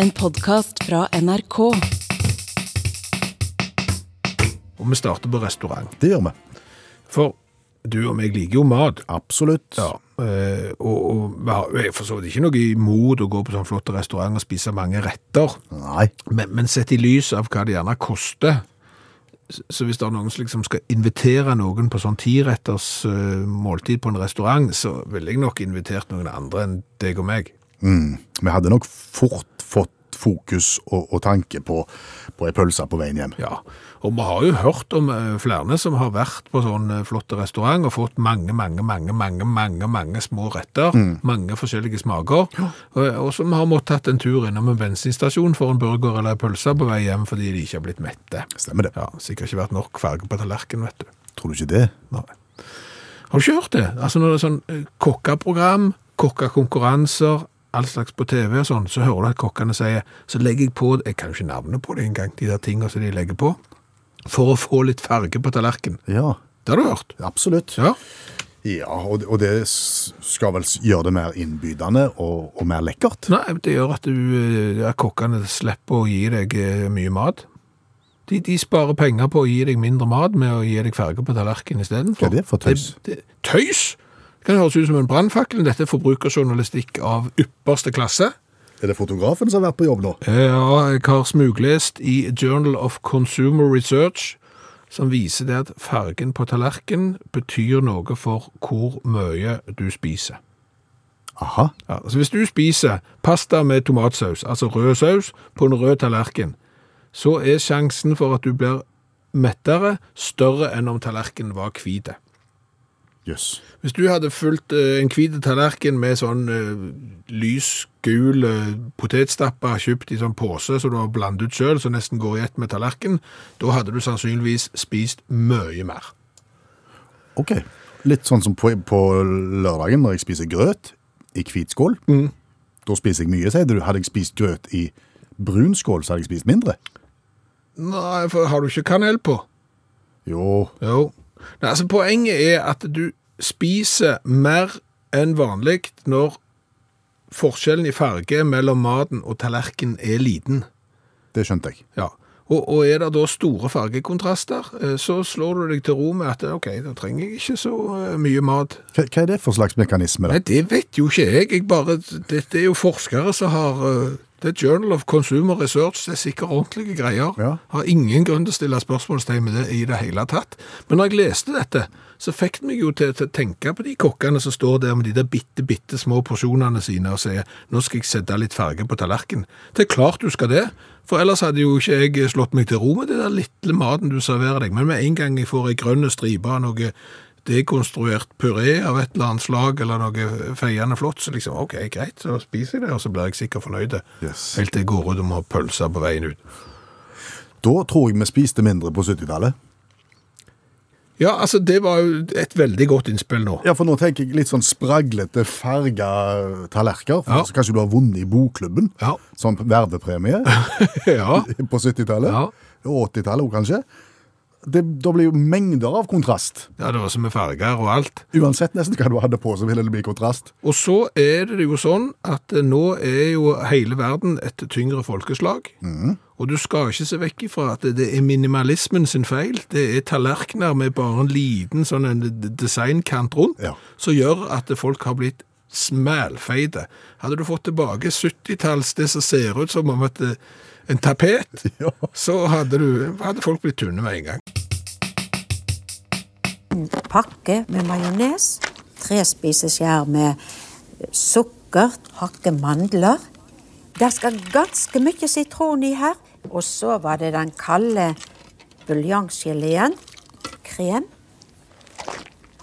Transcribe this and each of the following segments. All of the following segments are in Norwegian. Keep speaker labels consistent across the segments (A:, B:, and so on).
A: En podkast fra NRK.
B: Og vi starter på restaurant.
C: Det gjør vi.
B: For du og meg liker jo mat.
C: Absolutt.
B: Eh, og, og vi har jeg er for så vidt ikke noe imot å gå på sånn flott restaurant og spise mange retter.
C: Nei.
B: Men, men sett i lys av hva det gjerne koster s- så hvis det er noen som liksom skal invitere noen på sånn tiretters eh, måltid på en restaurant, så ville jeg nok invitert noen andre enn deg og meg.
C: Mm. Vi hadde nok fort fått fokus og, og tanke på, på ei pølse på veien hjem.
B: Ja, og vi har jo hørt om eh, flere som har vært på sånn eh, flott restaurant og fått mange, mange, mange, mange, mange, mange små retter, mange forskjellige smaker, og, og som har måttet tatt en tur innom en bensinstasjon for en burger eller en pølse på vei hjem fordi de ikke har blitt mette.
C: Stemmer det.
B: Ja, sikkert ikke vært nok farge på tallerkenen, vet du.
C: Tror du ikke det?
B: Nei. Har du ikke hørt det? Altså når det er sånn eh, kokkeprogram, kokkekonkurranser, all slags på TV og sånn, så hører du at kokkene sier, så legger jeg på, jeg kan jo ikke navnet på det engang, de der tingene som de legger på, for å få litt farge på tallerken.
C: Ja.
B: Det har du hørt.
C: Absolutt.
B: Ja,
C: Ja, og, og det s- skal vel s- gjøre det mer innbydende og, og mer lekkert.
B: Nei, det gjør at du, eh, at kokkene slipper å gi deg eh, mye mat. De, de sparer penger på å gi deg mindre mat med å gi deg farge på tallerken istedenfor.
C: Hva er det for tøys?
B: Det, det, tøys? Det kan høres ut som en brannfakkel. Dette er forbrukerjournalistikk av ypperste klasse.
C: Er det fotografen som har vært på jobb nå?
B: Ja, jeg har smuglest i Journal of Consumer Research, som viser det at fargen på tallerken betyr noe for hvor mye du spiser.
C: Aha.
B: Ja, så hvis du spiser pasta med tomatsaus, altså rød saus, på en rød tallerken, så er sjansen for at du blir mettere større enn om tallerken var hvite.
C: Jøss.
B: Hvis du hadde fulgt eh, en hvite tallerken med sånn eh, lys, gul eh, potetstappa kjøpt i sånn pose som du har blandet ut sjøl, som nesten går i ett med tallerken, da hadde du sannsynligvis spist mye mer.
C: Ok. Litt sånn som på, på lørdagen når jeg spiser grøt i hvit skål.
B: Mm.
C: Da spiser jeg mye, sier du. Hadde jeg spist grøt i brun skål, så hadde jeg spist mindre.
B: Nei, for har du ikke kanel på?
C: Jo.
B: Jo. Nei, altså Poenget er at du spiser mer enn vanlig når forskjellen i farge mellom maten og tallerken er liten.
C: Det skjønte jeg.
B: Ja. Og, og er det da store fargekontraster, eh, så slår du deg til ro med at ok, da trenger jeg ikke så eh, mye mat.
C: Hva, hva er det for slags mekanisme?
B: Nei,
C: da?
B: det vet jo ikke jeg. jeg bare, dette er jo forskere som har eh, Det er Journal of Consumer Research, det er sikkert ordentlige greier.
C: Ja.
B: Har ingen grunn til å stille spørsmålstegn med det i det hele tatt. Men når jeg leste dette, så fikk det meg jo til, til å tenke på de kokkene som står der med de der bitte, bitte små porsjonene sine og sier nå skal jeg sette litt farge på tallerken. Det er klart du skal det, for ellers hadde jo ikke jeg slått meg til ro med det der lille maten du serverer deg. Men med en gang jeg får ei grønn stripe av noe dekonstruert puré av et eller annet slag, eller noe feiende flott, så liksom, ok, greit, så spiser jeg det, og så blir jeg sikkert fornøyd.
C: Yes.
B: Helt til jeg går ut og må ha pølser på veien ut.
C: Da tror jeg vi spiste mindre på 70-tallet.
B: Ja, altså, det var jo et veldig godt innspill nå.
C: Ja, for nå tenker jeg litt sånn spraglete, farga tallerkener.
B: Ja.
C: Så kanskje du har vunnet i bokklubben
B: Ja.
C: som vervepremie
B: Ja,
C: på 70-tallet.
B: Ja.
C: Og 80-tallet òg, kanskje. Det, da blir jo mengder av kontrast.
B: ja det var som med farger og alt.
C: Uansett nesten hva du hadde på, så ville det bli kontrast.
B: Og så er det jo sånn at eh, nå er jo hele verden et tyngre folkeslag. Og du skal ikke se vekk ifra at det er minimalismen sin feil. Det er tallerkener med bare en liten sånn en d- designkant rundt,
C: Ja.
B: som gjør at folk har blitt smælfeide. Hadde du fått tilbake 70-talls det som ser ut som om et, eh, en tapet,
C: Ja.
B: så hadde, du, hadde folk blitt tynne med en gang.
D: pakke med majones, tre spiseskjær med sukker, hakke mandler. Det skal ganske mye sitron i her. Og så var det den kalde buljonggeleen, krem.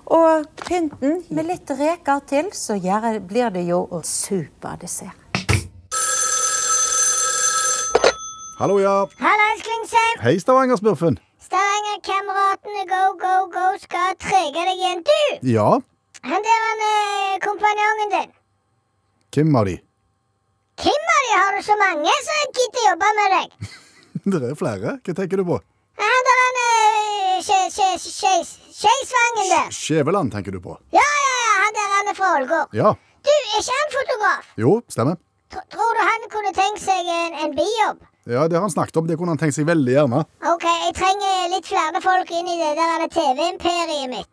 D: Og pynten med litt reker til, så gjør- blir det jo superdessert.
C: Hallo, ja.
E: Hallais, Klingsheim!
C: Hei, Stavanger-smurfen.
E: Stavanger-kameratene go, go, go skal trege deg igjen. Du!
C: Ja,
E: Han der han eh, kompanjongen din.
C: hvem av de?
E: Hvem av de har du så mange som gidder jobbe med deg?
C: Det er flere. Hva tenker du på?
E: Han der han eh, skje- skje- skje- Skeisvangen der.
C: Skjæveland tenker du på.
E: Ja, ja, ja, han der han er fra Ålgård.
C: Ja.
E: Du, er ikke han fotograf?
C: Jo, stemmer.
E: Tr tror du han kunne tenkt seg en, en bijobb.
C: Ja, Det har han snakket om, det kunne han tenkt seg veldig gjerne.
E: Ok, jeg trenger litt flere folk inn i det der TV-imperiet mitt.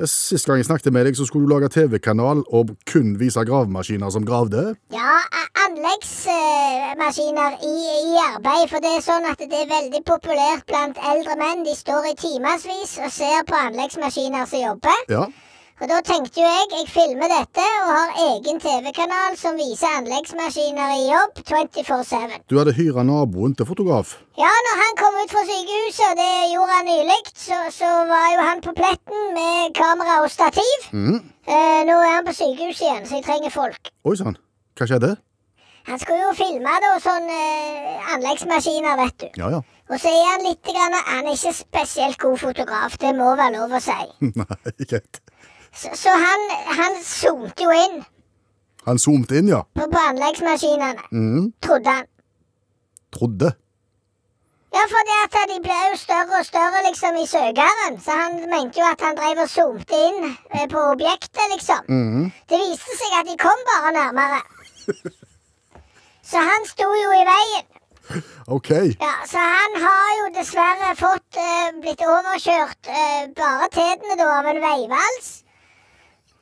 C: Ja, Sist gang jeg snakket med deg, så skulle du lage TV-kanal og kun vise gravemaskiner som gravde.
E: Ja, a- anleggsmaskiner i, i arbeid, for det er sånn at det er veldig populært blant eldre menn. De står i timevis og ser på anleggsmaskiner som jobber.
C: Ja,
E: Og da tenkte jo jeg, jeg filmer dette og har egen TV-kanal som viser anleggsmaskiner i jobb 24-7.
C: Du hadde hyra naboen til fotograf.
E: Ja, når han kom ut fra sykehuset, og det gjorde han nylig, så, så var jo han på pletten med kamera og stativ. Eh, nå er han på sykehuset igjen, så jeg trenger folk.
C: Oi sann, hva skjedde?
E: Han skulle jo filme da, sånn eh, anleggsmaskiner, vet du.
C: Ja ja.
E: Og så er han litt grann, Han er ikke spesielt god fotograf, det må være lov å si.
C: Nei, greit.
E: Så, så han, han zoomte jo inn
C: Han zoomte inn, ja.
E: på, på anleggsmaskinene, trodde han.
C: Trodde.
E: Ja, fordi at de ble jo større og større liksom i søkeren, så han mente jo at han drev og zoomte inn eh, på objektet, liksom. Det viste seg at de kom bare nærmere. Så han sto jo i veien.
C: OK.
E: Ja, Så han har jo dessverre fått eh, blitt overkjørt eh, bare tetene da av en veivals.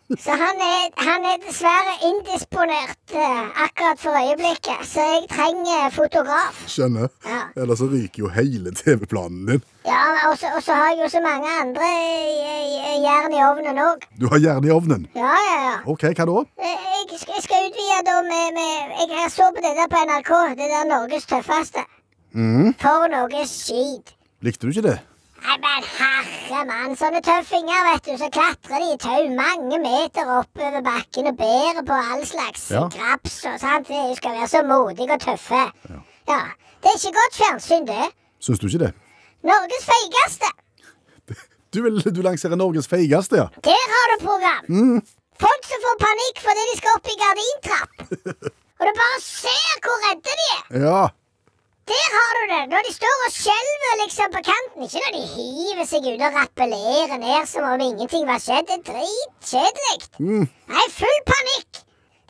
E: Så han er, han er dessverre indisponert eh, akkurat for øyeblikket, så jeg trenger fotograf.
C: Skjønner.
E: Ja.
C: Ellers så ryker jo hele TV-planen din.
E: Ja, og så, og så har jeg jo så mange andre eh, eh, jern i ovnen òg.
C: Du har jern i ovnen.
E: Ja, ja, ja.
C: OK, hva da?
E: Eh, Jeg, sk- jeg skal utvide da med, med Jeg jeg så på det der på NRK. Det der Norges tøffeste. For noe skit.
C: Likte du ikke det?
E: Nei, men herre mann, sånne tøffinger, vet du, så klatrer de i tau mange meter oppover bakken og bærer på all slags
C: Ja.
E: graps og sant. De skal være så modige og tøffe. Ja. Det er ikke godt fjernsyn, det.
C: Syns du ikke det?
E: Norges feigeste.
C: Du vil du lanserer Norges feigeste, ja.
E: Der har du program! Folk som får panikk fordi de skal opp i gardintrapp. Og du bare ser hvor redde de er.
C: Ja.
E: Der har du det! Når de står og skjelver liksom på kanten. Ikke når de hiver seg ut og rappellerer ned som om ingenting var skjedd. Det er dritkjedelig. Nei, full panikk.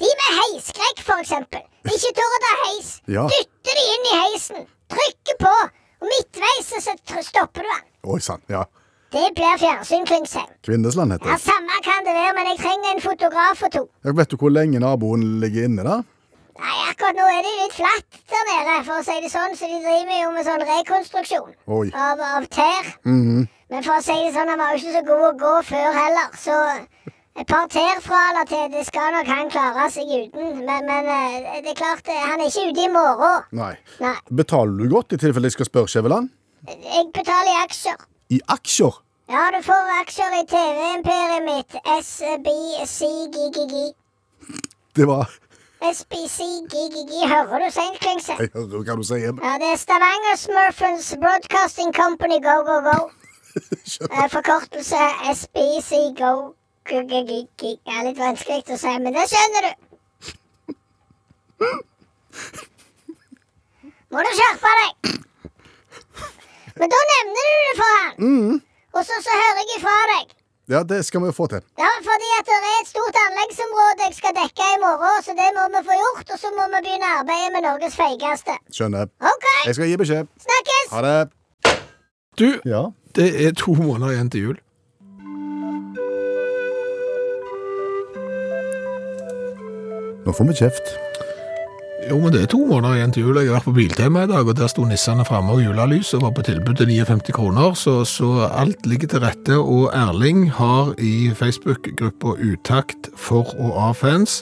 E: De med heisskrekk, for eksempel. De ikke tør å ta heis.
C: Ja.
E: Dytter de inn i heisen. Trykker på. Og midtveis så tr- stopper du den.
C: Oi sann. Ja.
E: Det blir fjernsyn, Klingsheim.
C: Kvinnesland heter
E: Ja,
C: det.
E: Samme kan det være, men jeg trenger en fotograf og to.
C: Ja, Vet du hvor lenge naboen ligger inne der?
E: Nei, akkurat nå er det litt flatt der nede, for å si det sånn, så de driver jo med sånn rekonstruksjon
C: Oi.
E: av, av tær. Men for å si det sånn, han var jo ikke så god å gå før heller, så et par tær fra eller til, det skal nok han klare seg uten. Men, men eh, det er klart, eh, han er ikke ute i morgen.
C: Nei.
E: Nei,
C: Betaler du godt i tilfelle jeg skal spørre Skjæveland?
E: jeg betaler i aksjer.
C: I aksjer?
E: Ja, du får aksjer i TV-imperiet mitt, SBCGGG.
C: Det var
E: SBCGGG, hører du seint, Klingse?
C: Jeg hører hva du sier.
E: Ja, det er Stavanger Smurfens Broadcasting Company Go Go Go.
C: Skjønner.
E: Eh, Forkortelse SBCGO. Det er litt vanskelig å si, men det skjønner du. Må du skjerpe deg. Men da nevner du det for han. Og så, så hører jeg ifra deg.
C: Ja, det skal vi få til.
E: Ja, fordi at det er et stort anleggsområde jeg skal dekke i morgen, så det må vi få gjort. Og så må vi begynne arbeidet med Norges feigeste.
C: Skjønner.
E: OK,
C: Jeg skal gi beskjed.
E: snakkes!
C: Ha det.
B: Du,
C: Ja.
B: det er to måneder igjen til jul.
C: Nå får vi kjeft.
B: Jo, men det er to måneder igjen til jul. Jeg har vært på Biltema i dag, og der sto nissene framme og julelys og var på tilbud til 59 kroner, så, så alt ligger til rette. Og Erling har i Facebook-gruppa Utakt for og av fans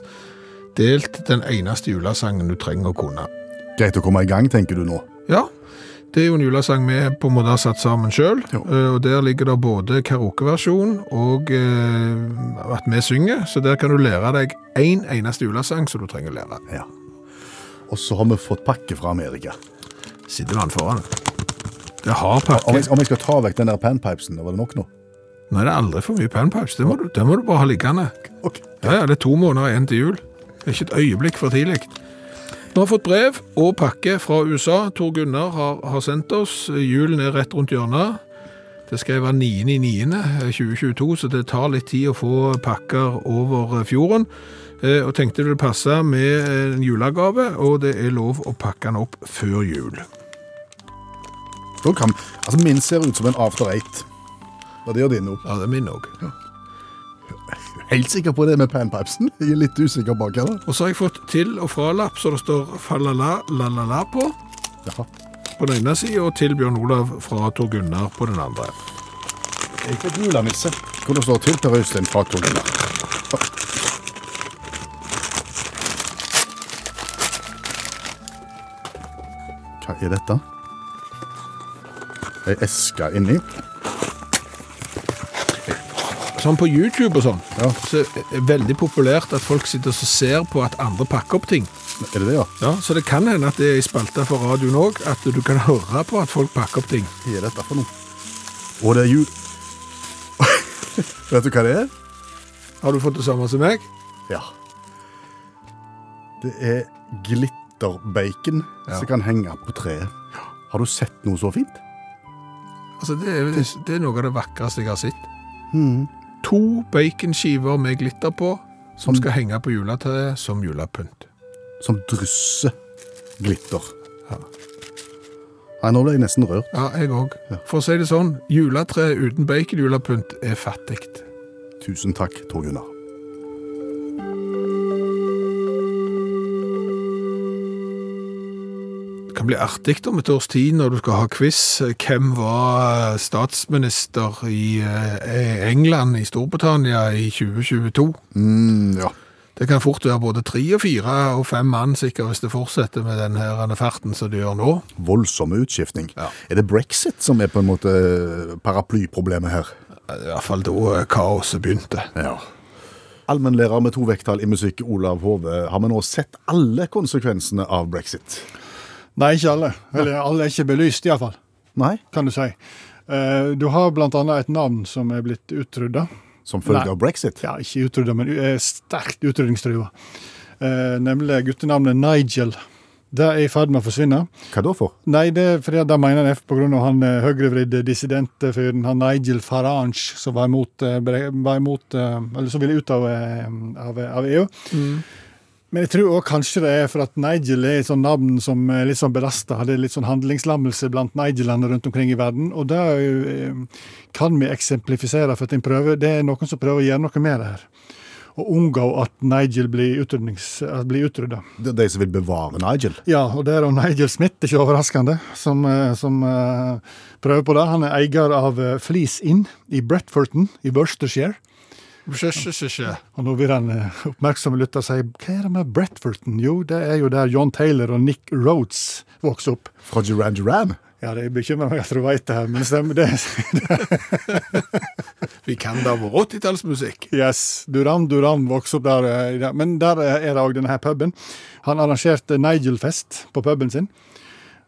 B: delt den eneste julesangen du trenger å kunne.
C: Greit å komme i gang, tenker du nå.
B: Ja, det er jo en julesang vi på en måte har satt sammen sjøl. Og der ligger det både karaokeversjon og eh, at vi synger. Så der kan du lære deg én en eneste julesang som du trenger å lære.
C: Ja. Og så har vi fått pakke fra Amerika.
B: Sitter du den foran? Det har
C: Om
B: pakke.
C: jeg, om jeg skal ta vekk den der panpipesen, var det nok nå?
B: Nå er det aldri for mye panpipes. Det må, du, det må du bare ha liggende.
C: Ok.
B: Ja, ja, det er to måneder igjen til jul. Det er ikke et øyeblikk for tidlig. Vi har fått brev og pakke fra USA. Tor Gunnar har, har sendt oss. Julen er rett rundt hjørnet. Det skal være 9.9.2022, eh, så det tar litt tid å få pakker over fjorden. Eh, Og tenkte det ville passe med en julegave, og det er lov å pakke den opp før jul.
C: Da kan, altså Min ser ut som en after eight. Og det gjør din òg.
B: Ja, det er min òg.
C: Helt sikker på det med panpipesen. Jeg er litt usikker bak her.
B: Og så har jeg fått til- og fralapp, så det står falala, la-la-la på
C: Ja.
B: på den ene sida, og til Bjørn Olav fra Tor Gunnar på den andre.
C: Jeg fikk julenisse. Hvor det står til Per Øystein fra Togene. Hva er dette? Ei eske inni.
B: Sånn på YouTube og sånn,
C: Ja.
B: så er det veldig populært at folk sitter og ser på at andre pakker opp ting.
C: Er det det, ja?
B: Ja, Så det kan hende at det er i spalta for radioen òg, at du kan høre på at folk pakker opp ting.
C: Hva er dette for noe? Å, det er jul... Vet du hva det er?
B: Har du fått det samme som meg?
C: Ja. Det er glitterbacon
B: Ja.
C: som kan henge på treet. Har du sett noe så fint?
B: Altså, Det er, det er noe av det vakreste jeg har sett. To baconskiver med glitter på, som skal henge på juletreet som julepynt.
C: Som drysser glitter. Nei, nå ble jeg nesten rørt.
B: Ja, jeg òg. For å si det sånn, juletre uten baconjulepynt er fattig.
C: Tusen takk, Tor Gunnar.
B: Det kan bli artig om et års tid når du skal ha quiz. Hvem var eh, statsminister i eh, England, i Storbritannia, i 2022?
C: Mm, ja.
B: Det kan fort være både tre og fire og fem mann sikkert hvis det fortsetter med den her farten som det gjør nå.
C: Voldsomme utskiftning.
B: Ja.
C: Er det brexit som er på en måte eh, paraplyproblemet her?
B: I hvert fall da eh, kaoset begynte.
C: Ja. Allmennlærer med to vekttall i musikk, Olav Hove. Har vi nå sett alle konsekvensene av brexit?
F: Nei, ikke alle. Eller alle er ikke belyst, iallfall,
C: Nei?
F: kan du si. Eh, Du har bl.a. et navn som er blitt utrydda.
C: Som følge
F: Nei.
C: av brexit?
F: Ja, ikke utrydda, men u- er sterkt utrydningstrua. Eh, Nemlig guttenavnet Nigel. Det er i ferd med å forsvinne.
C: Hva da for?
F: Nei, det er fordi at det mener NF pga. han eh, høyrevridde dissidentfyren han Nigel Farage, som var imot, eh, bre- var imot eh, Eller som ville ut av, eh, av, av EU. Men jeg tror også kanskje det er for at Nigel er et sånt navn som er litt sånn belasta. Hadde litt sånn handlingslammelse blant Nigelene rundt omkring i verden. Og det er jo, eh, kan vi eksemplifisere for at en prøver, det er noen som prøver å gjøre noe med det her. Og unngå at Nigel blir, utrydnings- at blir utrydda.
C: Det er de som vil bevare Nigel?
F: Ja, og det er da Nigel Smith, ikke overraskende, som, eh, som eh, prøver på det. Han er eier av eh, Fleece Inn i Bretforton i Worcestershire.
B: Sjø, sjø, sjø, sjø.
F: Og nå vil han eh, oppmerksomme lytter si hva er det med Bretforton? Jo, det er jo der John Taylor og Nick Rhodes vokste opp.
C: Fra Duran Duran?
F: Ja, det bekymrer meg at du veit det her, men stemmer det?
B: Vi kan da vår 80-tallsmusikk.
F: Yes, Duran Duran vokste opp der. eh, i det- Men der eh, er det òg denne her puben. Han arrangerte Nigel-fest på puben sin.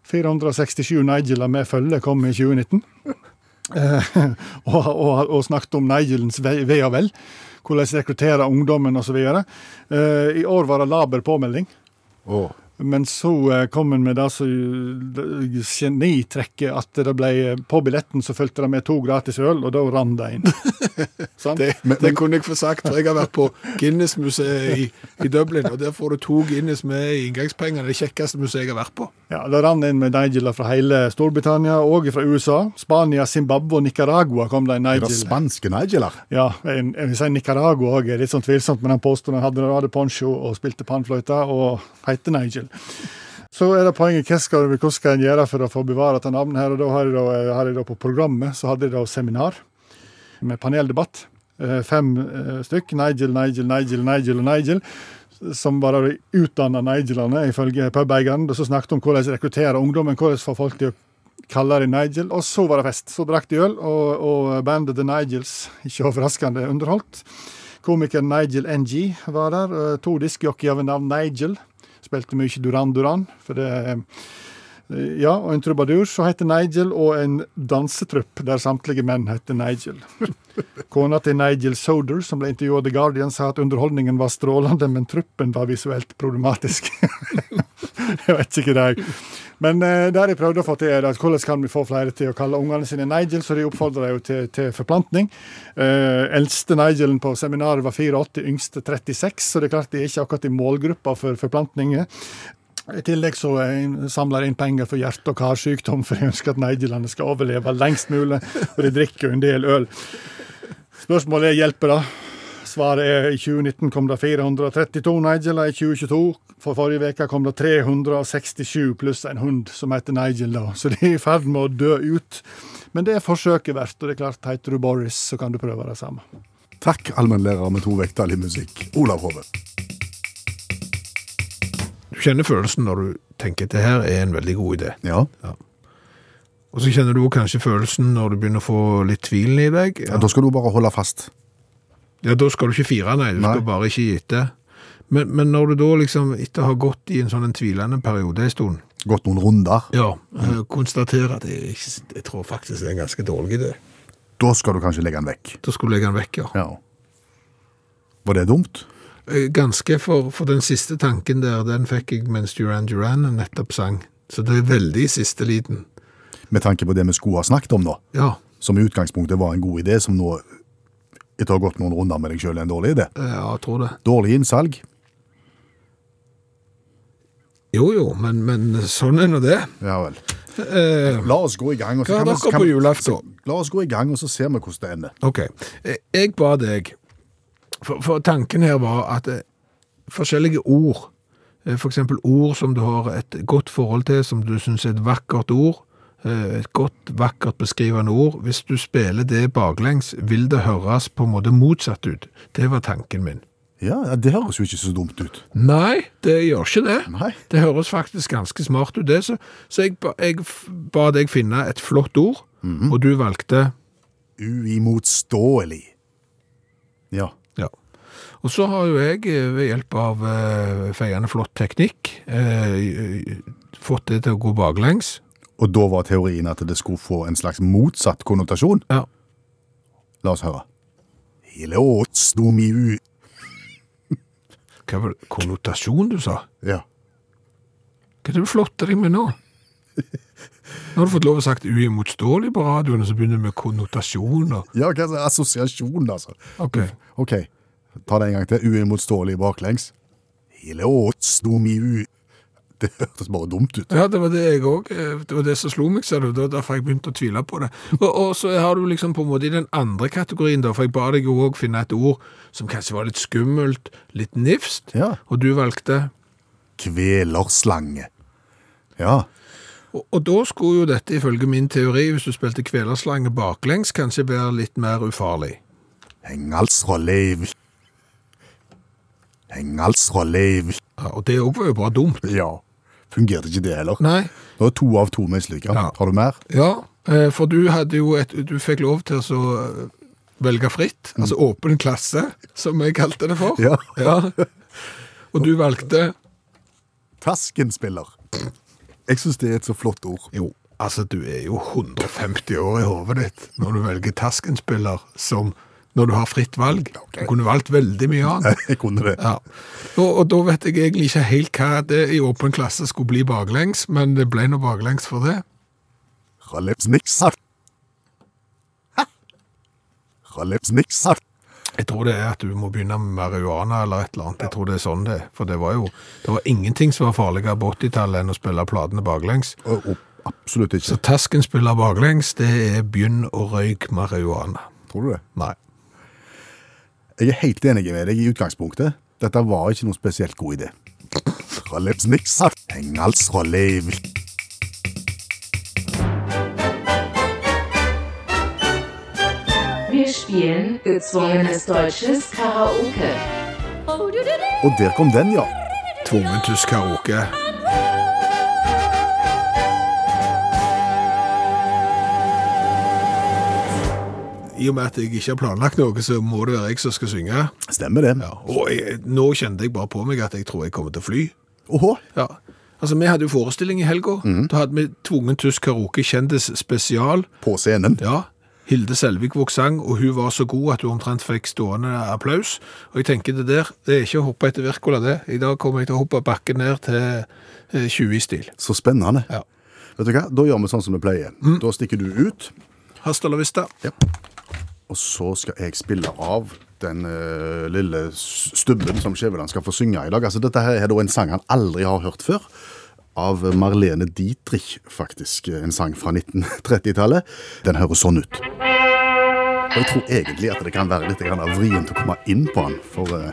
F: 467 Nigeler med følge kom i 2019. Eh, og, og, og snakket om Nigelens ve ve og vel. Hvordan rekruttere ungdommen osv. Eh, I år var det laber påmelding.
C: Åh.
F: Men så eh, kom en med det som det genitrekket at det ble eh, på billetten så fulgte det med to gratis øl, og da rann det inn. Sant?
B: Det, det kunne jeg få sagt, for jeg har vært på Guinness-museet i, i Dublin, og der får du to Guinness med i inngangspengene. Det kjekkeste museet jeg har vært på.
F: Ja, Det rant inn med Nigeler fra hele Storbritannia og fra USA. Spania, Zimbabwe og Nicaragua kom det en
C: Er det
F: Nigel.
C: spanske Nigeler?
F: Ja, en- jeg vil si Nicaragua òg er litt sånn tvilsomt, men han påstod han hadde Radio Poncho og spilte panfløyte og heter Nigel. Så er det poenget hva skal, hva skal en gjøre for å få bevare dette navnet. her, og da har jeg da, har jeg da På programmet så hadde jeg da seminar med paneldebatt. Eh, Fem eh, stykk. Nigel, Nigel, Nigel, Nigel og Nigel. Som var da de utdanna Nigelene, ifølge pubeieren. og Så snakket om hvordan rekruttere ungdommen, hvordan få folk til å kalle dem Nigel. Og så var det fest. Så drakk de øl, og, og bandet The Nigels, ikke overraskende, underholdt. Komikeren Nigel NG var der. eh, To diskjockeyer ved navn Nigel. Spilte mye Duran Duran. for det eh, ja, og en trubadur som heter Nigel, og en dansetrupp der samtlige menn heter Nigel. Kona til Nigel Soder, som ble intervjua av The Guardian, sa at underholdningen var strålende, men truppen var visuelt problematisk. jeg vet ikke hva jeg Men eh, der jeg prøvde å få til er at hvordan kan vi få flere til å kalle ungene sine Nigel, så de oppfordrer jeg jo til, til forplantning. Eh, eldste Nigelen på seminaret var 84, yngste 36, så det er klart de er ikke akkurat i målgruppa for forplantninger. I tillegg så eh, samler jeg inn penger for hjerte- og karsykdom, for jeg ønsker at Nigelene skal overleve lengst mulig, og de drikker jo en del øl. Spørsmålet er hjelper det. Svaret er i 2019 kom det 432 Nigeler, i 2022 for forrige veke kom det 367 pluss en hund som heter Nigel, da. Så de er i ferd med å dø ut. Men det er forsøket verdt, og det er klart, heter du Boris, så kan du prøve det samme.
C: Takk, allmennlærer med to vekttall i musikk, Olav Hove.
B: Du kjenner følelsen når du tenker at det her er en veldig god idé.
C: Ja.
B: Og så kjenner du også kanskje følelsen når du begynner å få litt tvilen i deg.
C: ja, Da skal du bare holde fast.
B: Ja, da skal du ikke fire, nei. Du skal
C: Nei.
B: bare ikke gi etter. Men, men når du da liksom, etter å ha gått i en sånn en tvilende periode en stund,
C: Gått noen runder.
B: ja, eh, konstaterer at jeg, ikke- jeg tror faktisk det er en ganske dårlig idé,
C: Da skal du kanskje legge den vekk.
B: da skulle jeg legge den vekk, ja.
C: Ja. Var det dumt?
B: Eh, Ganske for, for den siste tanken der, den fikk jeg mens Duran Duran nettopp sang. Så det er veldig i siste liten.
C: Med tanke på det vi skulle ha snakket om, da.
B: Ja,
C: Som i utgangspunktet var en god idé, som nå, etter å ha gått noen runder med deg sjøl, er en dårlig idé.
B: eh, ja, jeg tror det.
C: Dårlig innsalg.
B: Jo, jo, men, men sånn er nå det.
C: Ja vel.
B: Eh,
C: La oss gå i gang. og så
B: hva har
C: kan vi-
B: dere
C: kan
B: på
C: vi-
B: julaften?
C: La oss gå i gang, og så ser vi hvordan det ender.
B: Ok, Eh, jeg ba deg, for, for tanken her var at eh, forskjellige ord, eh, for eksempel ord som du har et godt forhold til, som du synes er et vakkert ord, eh, et godt, vakkert beskrivende ord, hvis du spiller det baklengs, vil det høres på en måte motsatt ut. Det var tanken min.
C: Ja, ja, Det høres jo ikke så dumt ut.
B: Nei, det gjør ikke det.
C: Nei.
B: Det høres faktisk ganske smart ut, det. Så, så jeg, ba, jeg f- ba deg finne et flott ord, og du valgte
C: Uimotståelig. Ja.
B: Ja. Og så har jo jeg, eh, ved hjelp av eh, feiende flott teknikk, eh, fått det til å gå baklengs.
C: Og da var teorien at det skulle få en slags motsatt konnotasjon.
B: Ja.
C: La oss høre. Ilåtsdomiu.
B: Hva var det? Konnotasjon, du sa?
C: Ja.
B: Hva er det du flotter deg med nå? Nå har du fått lov å sagt uimotståelig på radioen, og så begynner du med konnotasjon og
C: ja, hva er assosiasjon, altså?
B: Ok.
C: Ok, ta det en gang til. Uimotståelig baklengs. Ilåtsdomiu. Det hørtes bare dumt ut.
B: Ja, det var det jeg òg. Det var det som slo meg, ser du. Det var derfor jeg begynte å tvile på det. Og, og så har du liksom på en måte i den andre kategorien, da, for jeg ba deg jo òg finne et ord som kanskje var litt skummelt, litt nifst,
C: Ja.
B: og du valgte
C: Kvelerslange. Ja,
B: og, og da skulle jo dette, ifølge min teori, hvis du spilte kvelerslange baklengs, kanskje være litt mer ufarlig.
C: hengalsrolleiv. Hengalsrolleiv.
B: Ja, og det òg var jo bare dumt.
C: Ja, fungerte ikke det heller.
B: Nei.
C: Det var to av to mislykka.
B: Ja.
C: Har du mer?
B: Ja, eh, for du hadde jo et Du fikk lov til å så, eh, velge fritt, altså åpen klasse, som jeg kalte det for.
C: Ja.
B: ja. Og du valgte
C: Taskenspiller. Jeg syns det er et så flott ord.
B: Jo, altså du er jo 150 år i hovedet ditt når du velger taskenspiller som når du har fritt valg. Du kunne valgt veldig mye annet.
C: Jeg kunne det.
B: Ja. Og, og da vet jeg egentlig ikke helt hva det i åpen klasse skulle bli baklengs, men det ble nå baklengs for det.
C: Rallepsniksar. Rallepsniksar.
B: Jeg tror det er at du må begynne med marihuana eller et eller annet. Jeg tror det er sånn det er. For det var jo det var ingenting som var farligere på 80-tallet enn å spille platene baklengs.
C: Å, å, Absolutt ikke.
B: Så taskenspiller baklengs, det er begynn å røyke marihuana.
C: Tror du det?
B: Nei.
C: Jeg er helt enig med deg i utgangspunktet. Dette var ikke noen spesielt god idé. Rallepsniksar. Engalsrolleiv.
G: Wir spielen gezwungenes deutsches Karaoke.
C: Og der kom den, ja.
B: Tvungen tysk karaoke. I og med at jeg ikke har planlagt noe, så må det være jeg som skal synge.
C: Stemmer det.
B: Ja, og jeg, nå kjente jeg bare på meg at jeg tror jeg kommer til å fly.
C: Åhå.
B: Ja. Altså, Vi hadde jo Mhm. forestilling i helga. Da hadde vi tvungen tysk karaoke kjendis spesial.
C: På scenen.
B: Ja, Hilde Selvik sang, og hun var så god at hun omtrent fikk stående applaus. Og jeg tenker det der, det er ikke å hoppe etter Wirkola, det. I dag kommer jeg til å hoppe bakken ned til eh, 20 i stil.
C: Så spennende.
B: Ja. Mm.
C: Vet du hva? Da gjør vi sånn som vi pleier. Da stikker du ut,
B: Hasta la vista.
C: og så skal jeg spille av den eh, lille s- stubben som Skjæveland skal få synge i dag. Altså, dette her er da en sang han aldri har hørt før. Av Marlene Dietrich, faktisk. En sang fra 1930-tallet. Den høres sånn ut. Og jeg tror egentlig at det kan være litt grann av vrient å komme inn på den, for eh,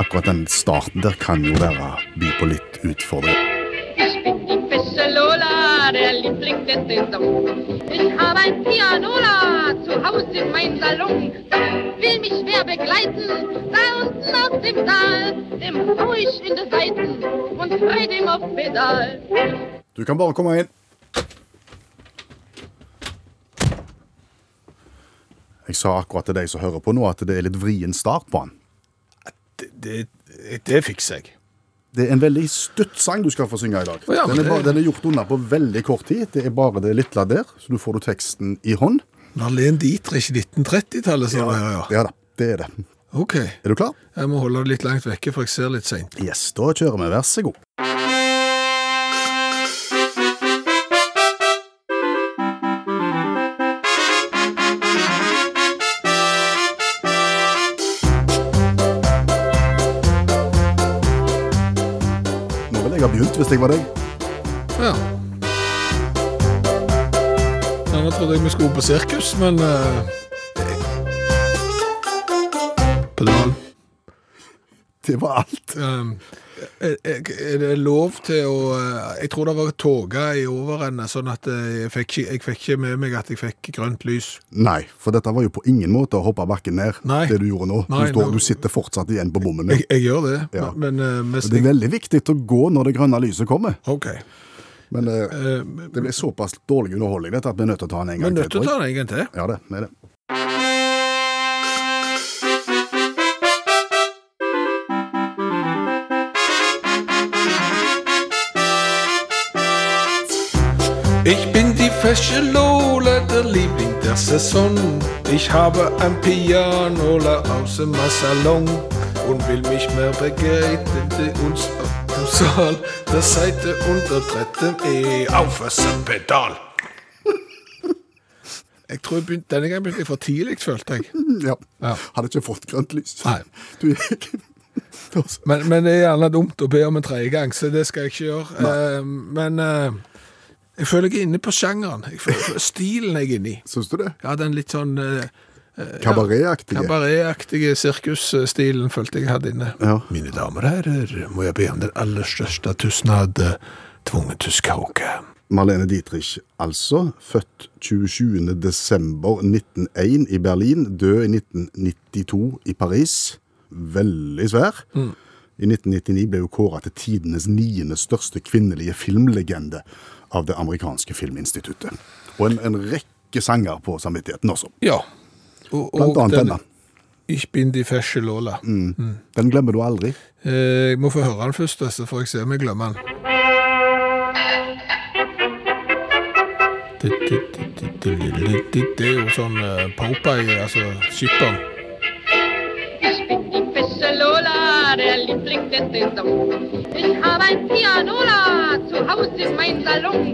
C: akkurat den starten der kan jo være by på litt utfordring.
H: Ich bin die Fische Lola, der Liebling der Saison. Ich habe ein Pianola zu Hause in meinem Salon. Will mich wer begleiten, da unten auf dem Saal, dem hau ich in die Seiten und frei dem auf Pedal.
C: Du kan bare komme inn. Jeg sa akkurat til deg som hører på nå, at det er litt vrien start på den.
B: Det, det, det fikser jeg.
C: Det er en veldig stutt sang du skal få synge i dag.
B: Å ja,
C: den, er
B: det-
C: bare, den er gjort unna på veldig kort tid. Det er bare det lille der, så du får du teksten i hånd.
B: Marlene Dietrich, 1930-tallet, sa jeg. Ja, ja.
C: Ja da, det er det.
B: OK.
C: Er du klar?
B: Jeg må holde det litt langt vekke, for jeg ser litt seint.
C: Yes, da kjører vi. Vær så god. Nå ville jeg ha begynt hvis jeg var deg.
B: Ja. Ja, Nå trodde jeg vi skulle på sirkus, men eh, Pedal.
C: Det var alt.
B: Um, er, er er det lov til å eh, Jeg tror det var tåke i overrennet, sånn at eh, jeg fikk, ikke- jeg fikk ikke med meg at jeg fikk grønt lys.
C: Nei, for dette var jo på ingen måte å hoppe bakken ned,
B: Nei.
C: det du gjorde nå.
B: Nei,
C: du, står,
B: nå-
C: du sitter fortsatt igjen på bommen.
B: Jeg, jeg gjør det,
C: Ja.
B: men, men, eh, mest-
C: Det er veldig viktig å gå når det grønne lyset kommer.
B: OK.
C: Men eh,
B: Eh,
C: det ble såpass dårlig underholdning dette at vi er nødt til å ta den en
B: Men
C: gang
B: nødt til å
C: tror jeg.
B: ta den en gang til.
C: Ja, det er det.
B: Ich bin die fesche Lola, der Liebling der Saison. Ich habe ein Pianola aus dem Salon und will mich mehr begleiten zu uns auf dem Saal. Der Seite unter trettem E auf das Pedal. Jeg tror jeg begynte, Denne gangen begynte jeg for tidlig, følte jeg.
C: Mm, Ja.
B: Ja.
C: Hadde ikke fått grønt lys.
B: Nei.
C: Du gikk Det var så-
B: Men, men det er gjerne dumt å be om en tredje gang, så det skal jeg ikke gjøre. Eh, men eh, jeg føler jeg er inne på sjangeren. Jeg føler, stilen jeg er inne i.
C: Syns du det?
B: Ja, den litt sånn eh,
C: Kabaretaktige.
B: kabaretaktige sirkusstilen følte jeg hadde inne.
C: Ja.
B: Mine damer og herrer, må jeg be om den aller største tusenad, tvungen tysk karaoke.
C: Marlene Dietrich, altså. Født 27. desember 1901 i Berlin. Død i 1992 i Paris. Veldig svær. I 1999 ble hun kåra til tidenes niende største kvinnelige filmlegende av det amerikanske filminstituttet. Og en, en rekke sanger på samvittigheten også.
B: Ja. Og,
C: Blant
B: og
C: annet
B: den-
C: denne. Mm.
B: Ich bin die fesche Lola.
C: Den glemmer du aldri.
B: Eh, jeg må få høre den først, så får jeg se om jeg glemmer den. Det, det, det, det, det, det, det, det er jo sånn eh, Popeye, altså skipperen.
H: Ich bin die Fische Lola, der Liebling der Saison. Ich habe ein Pianola zu Hause in meinem Salon.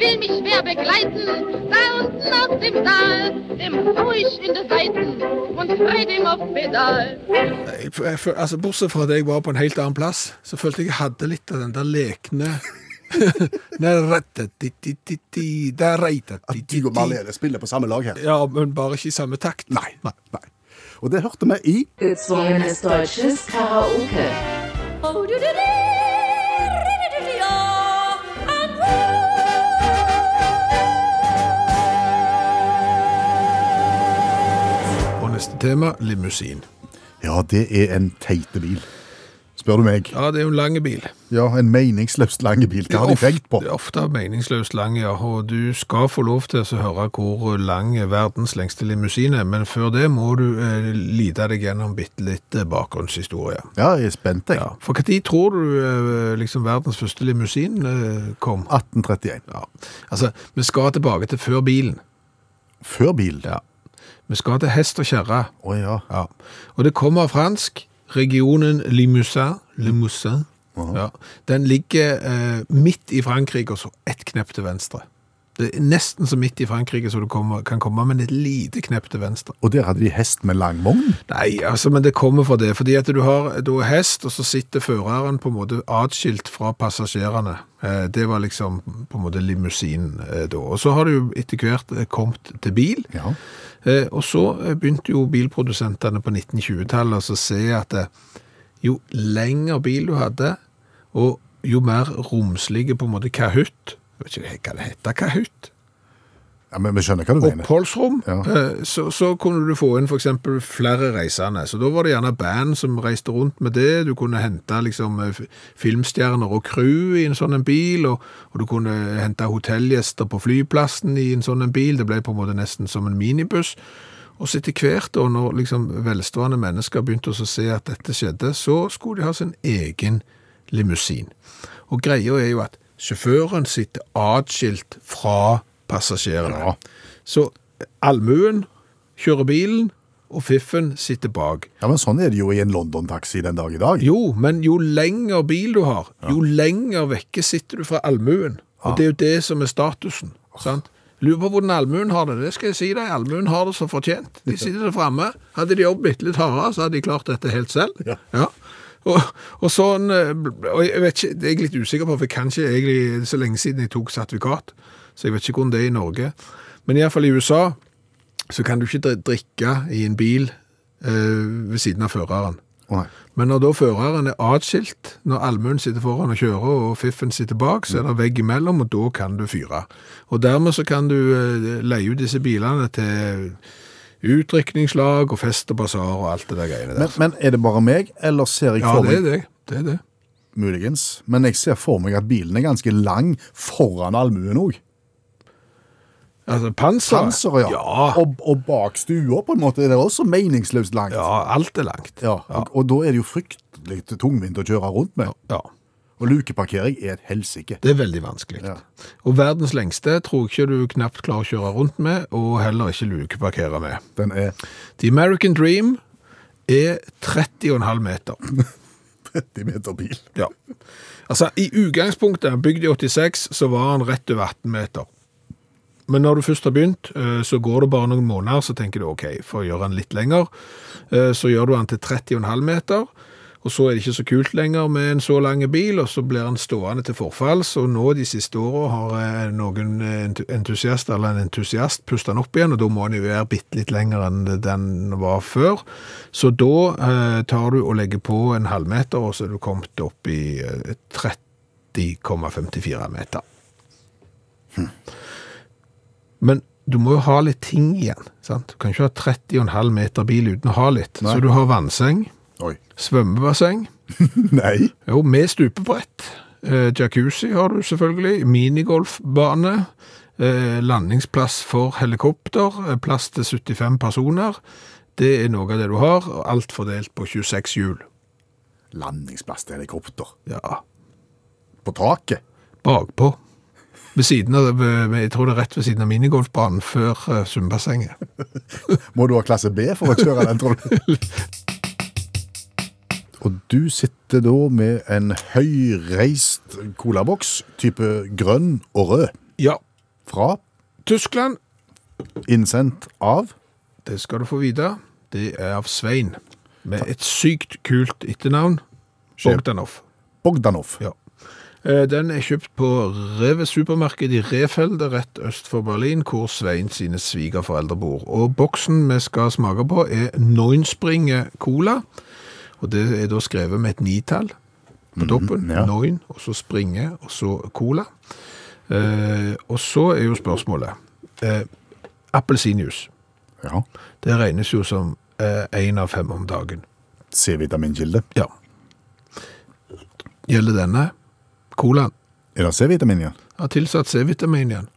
H: Will mich wer begleiten, da unten auf dem Saal, dem hau ich in die Seiten und frei dem auf Pedal.
B: Jeg, jeg, føl- altså, bortsett fra at jeg var på en helt annen plass, så følte jeg jeg hadde litt av den der lekne
C: At du og Marlene spiller på samme lag her.
B: Ja, men bare ikke i samme takt.
C: Nei. Nei. Og det hørte vi i
G: Gezwungenes deutsches Karaoke.
B: Og neste tema limousin.
C: Ja, det er en teite bil. Spør du meg.
B: Ja, det er jo en lang bil.
C: Ja, en meningsløst lang bil. Hva har de
B: Det er
C: tenkt på?
B: ofte- Det er ofte meningsløst lang, ja. Og du skal få lov til å høre hvor lang verdens lengste limousin er, men før det må du eh, lide deg gjennom bitte litt eh, bakgrunnshistorie.
C: Ja, jeg er spent, jeg.
B: Ja. For når tror du eh, liksom verdens første limousin eh, kom?
C: 1831.
B: Ja, altså, vi skal tilbake til før bilen.
C: Før bil?
B: Ja. Vi skal til hest og kjerre.
C: Å ja.
B: Ja. Og det kommer av fransk. Regionen Limousin. Limousin. Ja. Den ligger eh, midt i Frankrike, og så ett knepp til venstre. Det er nesten så midt i Frankrike som du kommer, kan komme, men et lite knepp til venstre.
C: Og der hadde de hest med lang vogn?
B: Nei, altså, men det kommer fra det. Fordi at du har da hest, og så sitter føreren på en måte atskilt fra passasjerene. Eh, Det var liksom på en måte limousinen eh, da. Og så har det jo etter hvert eh, kommet til bil.
C: Ja.
B: Eh, Og så eh, begynte jo bilprodusentene på 1920-tallet altså å se at eh, jo lengre bil du hadde, og jo mer romslige på en måte kahutt, jeg vet ikke hva det heter, kahutt,
C: ja men vi skjønner hva du mener.
B: oppholdsrom,
C: Ja.
B: eh, så, så kunne du få inn for eksempel flere reisende. Så da var det gjerne band som reiste rundt med det. Du kunne hente liksom eh, f- filmstjerner og crew i en sånn en bil, og, og du kunne hente hotellgjester på flyplassen i en sånn en bil. Det ble på en måte nesten som en minibuss. Og så etter hvert, og når liksom velstående mennesker begynte å se at dette skjedde, så skulle de ha sin egen limousin. Og greia er jo at sjåføren sitter atskilt fra passasjerene. Så allmuen kjører bilen, og fiffen sitter bak.
C: Ja, men Sånn er det jo i en London-taxi den dag i dag.
B: Jo, men jo lenger bil du har, jo lenger vekke sitter du fra allmuen. Og det er jo det som er statusen. sant? Lurer på hvordan allmuen har det. Det skal jeg si deg. Allmuen har det så fortjent. De sitter der framme. Hadde de jobbet bitte litt hardere, så hadde de klart dette helt selv.
C: Ja.
B: Og, og sånn eh, Og jeg vet ikke, det er jeg litt usikker på, for kanskje egentlig det er så lenge siden jeg tok sertifikat, så jeg vet ikke hvordan det er i Norge. Men iallfall i USA så kan du ikke dri- drikke i en bil eh, ved siden av føreren.
C: Å, nei.
B: Men når da føreren er atskilt, når allmuen sitter foran og kjører, og fiffen sitter bak, så er det vegg imellom, og da kan du fyre. Og dermed så kan du eh, leie ut disse bilene til utdrikningslag og fest og basar og alt det der greiene
C: Men,
B: der.
C: men er det bare meg, eller ser jeg
B: Ja,
C: for
B: det er
C: meg
B: det. Det er det.
C: Muligens. Men jeg ser for meg at bilen er ganske lang foran allmuen òg.
B: Altså, panser.
C: Panser, ja.
B: Ja,
C: Og, og bak stua, på en måte. Er det også meningsløst langt.
B: ja alt er langt.
C: Ja, Og, og da er det jo fryktelig tungvint å kjøre rundt med.
B: Ja.
C: Og lukeparkering er et helsike.
B: Det er veldig vanskelig.
C: Ja.
B: Og verdens lengste tror jeg ikke du knapt klarer å kjøre rundt med, og heller ikke lukeparkere med.
C: Den er
B: The American Dream er 30,5 meter.
C: 30 meter bil.
B: Ja. Altså, i utgangspunktet, bygd i 86, så var han rett over 18 meter. Men når du først har begynt, eh, så går det bare noen måneder, så tenker du OK, for å gjøre den litt lenger, eh, så gjør du den til 30,5 meter. Og så er det ikke så kult lenger med en så lang bil, og så blir den stående til forfalls. Og nå de siste åra har eh, noen entu- entusiaster eller en entusiast pusta den opp igjen, og da må den jo være bitte litt lenger enn den var før. Så da eh, tar du og legger på en halvmeter, og så er du kommet opp i eh, 30,54 meter. Men du må jo ha litt ting igjen. Sant? Du kan ikke ha 30,5 meter bil uten å ha litt.
C: Nei.
B: Så du har vannseng,
C: Oi.
B: svømmebasseng,
C: Nei.
B: jo, med stupebrett. Eh, jacuzzi har du selvfølgelig, minigolfbane, eh, landingsplass for helikopter, eh, plass til 75 personer. Det er noe av det du har, og alt fordelt på 26 hjul.
C: Landingsplass til helikopter.
B: Ja,
C: På taket.
B: bakpå. Ved siden av, jeg tror det er rett ved siden av minigolfbanen før eh, svømmebassenget.
C: Må du ha klasse B for å kjøre den, tror du? Og du sitter da med en høyreist colaboks, type grønn og rød,
B: Ja,
C: fra,
B: Tyskland,
C: innsendt av
B: det skal du få vite, det er av Svein. Med et sykt kult etternavn, Bogdanov.
C: Bogdanov.
B: Ja. Eh, Den er kjøpt på Rewe supermarked i Refelde, rett øst for Berlin, hvor Svein sine svigerforeldre bor. Og boksen vi skal smake på er Neunspringe Cola, og det er da skrevet med et nitall på toppen.
C: ja.
B: Neun, og så Springe, og så Cola. Eh, og så er jo spørsmålet, eh, appelsinjuice,
C: Ja.
B: det regnes jo som eh, en av fem om dagen.
C: C-vitaminkilde.
B: Ja. Gjelder denne? Colaen?
C: Er det C-vitamin igjen?
B: har tilsatt C-vitamin igjen.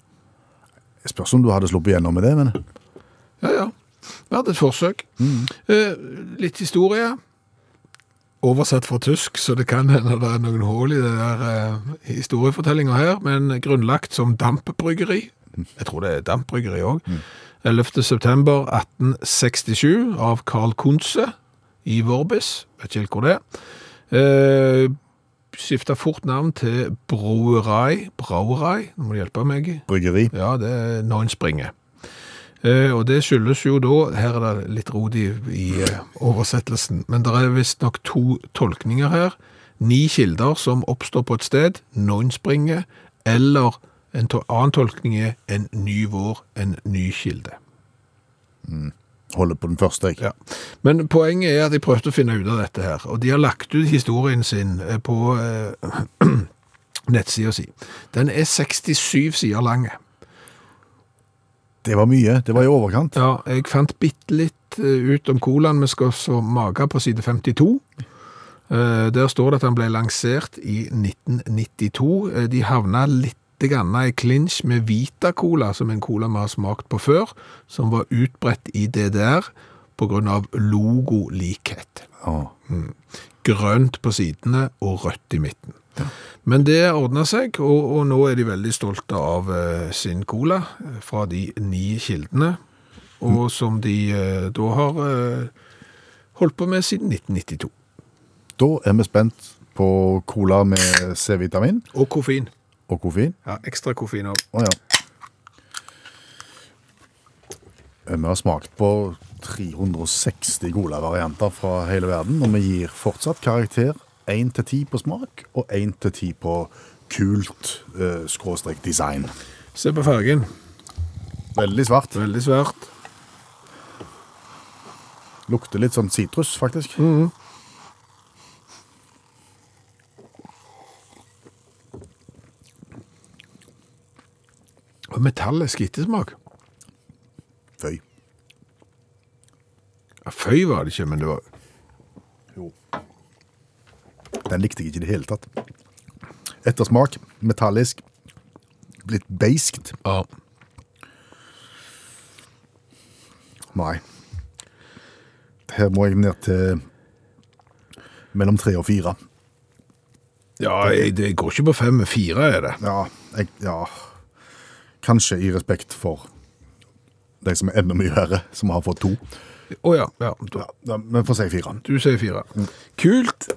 C: Jeg spørs om du hadde sluppet gjennom med det, men
B: Ja, ja. Verdt et forsøk. Eh, litt historie. Oversatt fra tysk, så det kan hende det er noen hull i det der eh, historiefortellinga her, men grunnlagt som dampbryggeri. Jeg tror det er dampbryggeri òg. 11. september 1867 av Carl Kunze i Vorbis, vet ikke helt hvor det er. Eh, Skifta fort navn til Brauerei, Brauerei, nå må du hjelpe meg.
C: Bryggeri.
B: Ja, det er når en springer. Eh, og det skyldes jo da, her er det litt rot i, i eh, oversettelsen, men det er visstnok to tolkninger her. Ni kilder som oppstår på et sted, noen springer, eller en to annen tolkning er en ny vår, en ny kilde.
C: Holder på den første, jeg.
B: Ja. Men poenget er at de prøvde å finne ut av dette her, og de har lagt ut historien sin eh, på eh, nettsida si. Den er 67 sider lange.
C: Det var mye. Det var i overkant.
B: Ja, jeg fant bitte litt eh, ut om colaen vi skal så mage på side 52. Eh, Der står det at han ble lansert i 1992. Eh, De havna litt grann i klinsj med Vita Cola, som en cola vi har smakt på før, som var utbredt i DDR på grunn av logolikhet.
C: Ja.
B: Grønt på sidene og rødt i midten. Men det ordna seg, og, og nå er de veldig stolte av eh, sin cola eh, fra de ni kildene, og som de eh, da har eh, holdt på med siden 1992.
C: Da er vi spent på cola med C-vitamin
B: Og koffein.
C: og koffein.
B: Ja, ekstra koffein òg.
C: Å ja. Eh, Vi har smakt på 360 colavarianter fra hele verden, og vi gir fortsatt karakter 1 til 10 på smak og 1 til 10 på kult eh, skråstrek design.
B: Se på fargen.
C: Veldig svart.
B: Veldig svært.
C: Lukter litt sånn sitrus, faktisk.
B: Og metallisk ettersmak.
C: Føy.
B: Ja, Føy var det ikke, men det var
C: Jo. Den likte jeg ikke i det hele tatt. Ettersmak, metallisk, litt beiskt.
B: ja.
C: Nei. Her må jeg ned til mellom tre og fire.
B: ja, jeg- det går ikke på fem, men fire er det.
C: Ja, jeg, ja. Kanskje i respekt for de som er enda mye verre, som har fått to.
B: Å ja. ja. da-
C: Ja, da- men får si fire.
B: Du sier fire. Kult.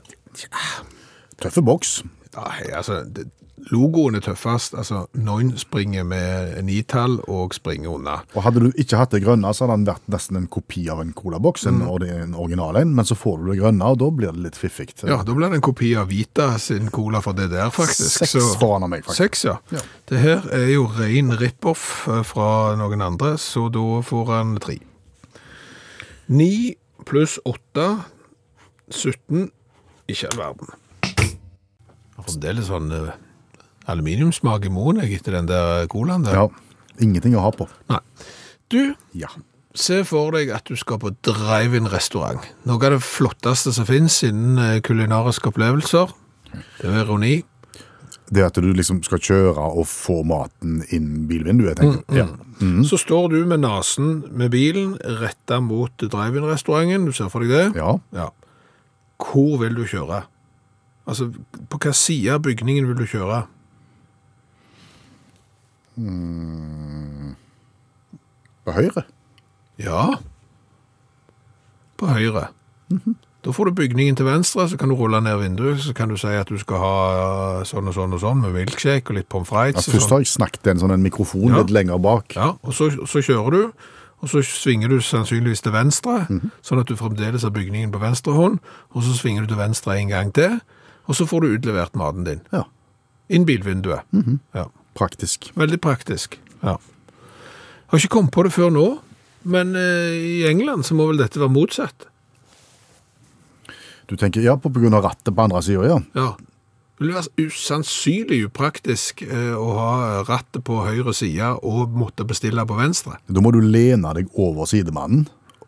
C: Tøffe boks.
B: Nei, altså, det, logoen er tøffest. Altså, noen springer med nitall og springer unna.
C: Og hadde du ikke hatt det grønne, så hadde den vært nesten en kopi av en colaboks, en,
B: Mm.
C: ordi- en original en, men så får du det grønne, og da blir det litt fiffig.
B: Ja, da blir det en kopi av Vita sin cola fra DDR, faktisk.
C: Seks foran av meg, faktisk.
B: Seks, ja.
C: Ja.
B: Det her er jo ren rip-off eh, fra noen andre, så da får han tre. Ni pluss åtte, 17, ikke all verden. Jeg har fremdeles sånn eh, aluminiumsmak i munnen jeg, etter den der colaen der.
C: Ja, ingenting å ha på.
B: Nei. Du,
C: Ja.
B: Se for deg at du skal på drive-in-restaurant. Noe av det flotteste som finnes innen eh, kulinariske opplevelser. Det er jo ironi.
C: Det at du liksom skal kjøre og få maten inn bilvinduet, tenker
B: Mm,
C: du. Ja.
B: Så står du med nasen med bilen retta mot drive-in-restauranten. Du ser for deg det?
C: ja.
B: Hvor vil du kjøre? Altså, på hva side av bygningen vil du kjøre?
C: På høyre.
B: Ja. På høyre.
C: Mhm.
B: Da får du bygningen til venstre, så kan du rulle ned vinduet, så kan du si at du skal ha eh, sånn og sånn og sånn med milkshake og litt pommes
C: Ja,
B: frites. og sånn.
C: først har jeg snakket en sånn en mikrofon
B: Ja.
C: litt lenger bak.
B: Ja, og så, så kjører du, og så svinger du sannsynligvis til venstre, sånn at du fremdeles har bygningen på venstre hånd, og så svinger du til venstre en gang til, og så får du utlevert maten din.
C: Ja.
B: Inn bilvinduet. ja.
C: Praktisk.
B: Veldig praktisk. Ja. Har ikke kommet på det før nå, men eh, i England så må vel dette være motsatt.
C: Du tenker, ja, på grunn av rattet på andre siden, ja.
B: Ja. Det ville vært usannsynlig upraktisk eh, å ha rattet på høyre side og måtte bestille på venstre.
C: Da må du lene deg over sidemannen.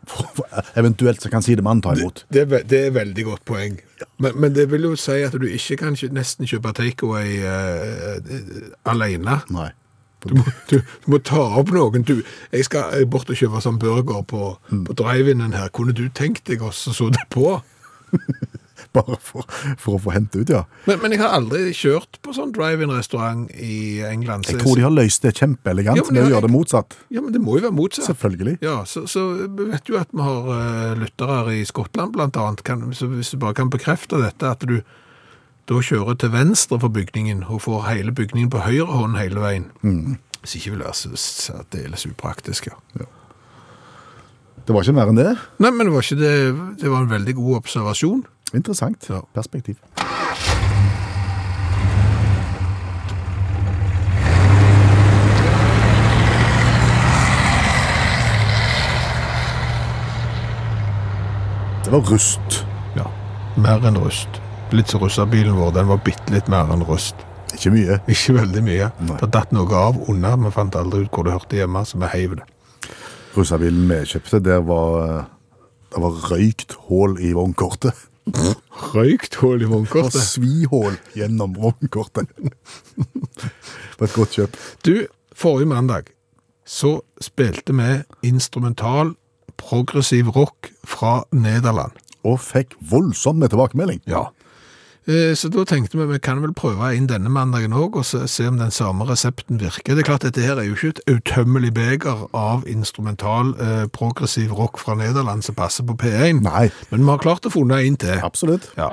C: For- for- Eventuelt så kan sidemannen ta imot.
B: Det er, ve- det er veldig godt poeng. Men, men det vil jo si at du ikke kan kjø- nesten kjøpe takeaway eh, eh, alene.
C: Nei.
B: Du må, du, du må ta opp noen. Du, jeg skal eh, bort og kjøpe
C: Mm.
B: sånn burger på, på drive-in-en her. Kunne du tenkt deg også så det på?
C: Bare for, for å få hente ut, ja.
B: Men, men jeg har aldri kjørt på sånn drive-in-restaurant i England. så
C: Jeg tror de har løst det kjempeelegant
B: Ja, men
C: med å
B: jeg-
C: gjøre det motsatt.
B: Ja, men det må jo være motsatt.
C: Selvfølgelig.
B: Ja, så, så vi vet jo at vi har eh, lyttere i Skottland blant annet, kan, så hvis du bare kan bekrefte dette, at du da kjører til venstre for bygningen og får hele bygningen på høyre hånd hele veien. Hvis ikke vil det være særdeles upraktisk, Mm. ja.
C: Det var ikke mer enn det.
B: Nei, men det var, ikke det, det var en veldig god observasjon.
C: Interessant
B: Ja.
C: perspektiv. Det var rust.
B: Ja, mer enn rust. Litt så russerbilen vår, den var bitte litt mer enn rust.
C: Ikke mye.
B: Ikke veldig mye.
C: Nei.
B: Det datt noe av under, vi fant aldri ut hvor det hørte hjemme, så vi heiv det.
C: Russabilen vi kjøpte, der var, det var røykt hull i vognkortet.
B: Røykt hull i
C: Det var
B: vognkortet.
C: svihull gjennom vognkortet. Det var et godt kjøp.
B: Du, forrige mandag så spilte vi instrumental progressiv rock fra Nederland.
C: Og fikk voldsomme tilbakemelding.
B: Ja. Eh, Så da tenkte vi vi kan vel prøve inn denne mandagen òg, og se se om den samme resepten virker. Det er klart, Dette her er jo ikke et utømmelig beger av instrumental eh, progressiv rock fra Nederland som passer på P1,
C: Nei,
B: men vi har klart å finne en til.
C: absolutt.
B: Ja.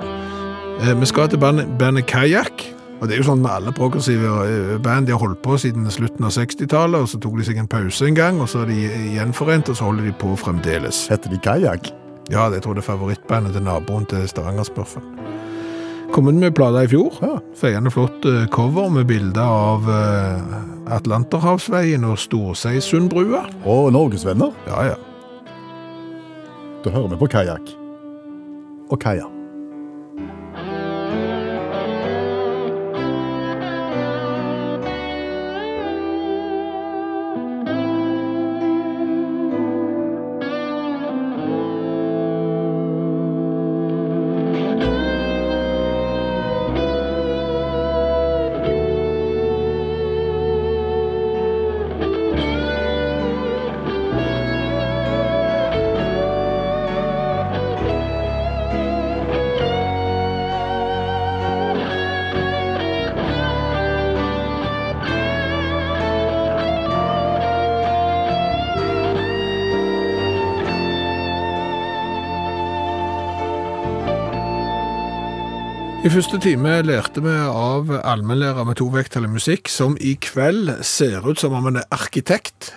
B: Eh, Vi skal til bandet, bandet Kajakk. Og det er jo sånn med alle progressive eh, band. De har holdt på siden slutten av 60-tallet, og så tok de seg en pause en gang, og så er de gjenforent, og så holder de på fremdeles.
C: Heter de kajakk?
B: Ja, det tror jeg det er favorittbandet til naboen til Stavangerspørfen. Kom inn med plata i fjor.
C: Ja.
B: Feiende flott eh, cover med bilder av eh, Atlanterhavsveien og Storseisundbrua.
C: Og Norgesvenner.
B: Ja, ja.
C: Da hører vi på kajakk. Og kaja.
B: I første time lærte vi av allmennlærer med tovekttall i musikk, som i kveld ser ut som om han er arkitekt.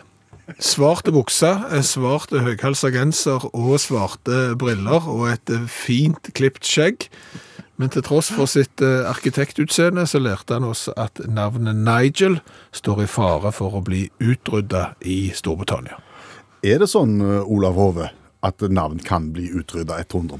B: Svarte bukser, svarte høyhalsa genser og svarte briller og et fint klipt skjegg. Men til tross for sitt eh, arkitektutseende så lærte han oss at navnet Nigel står i fare for å bli utrydda i Storbritannia.
C: Er det sånn, eh, Olav Hove, at navn kan bli utrydda 100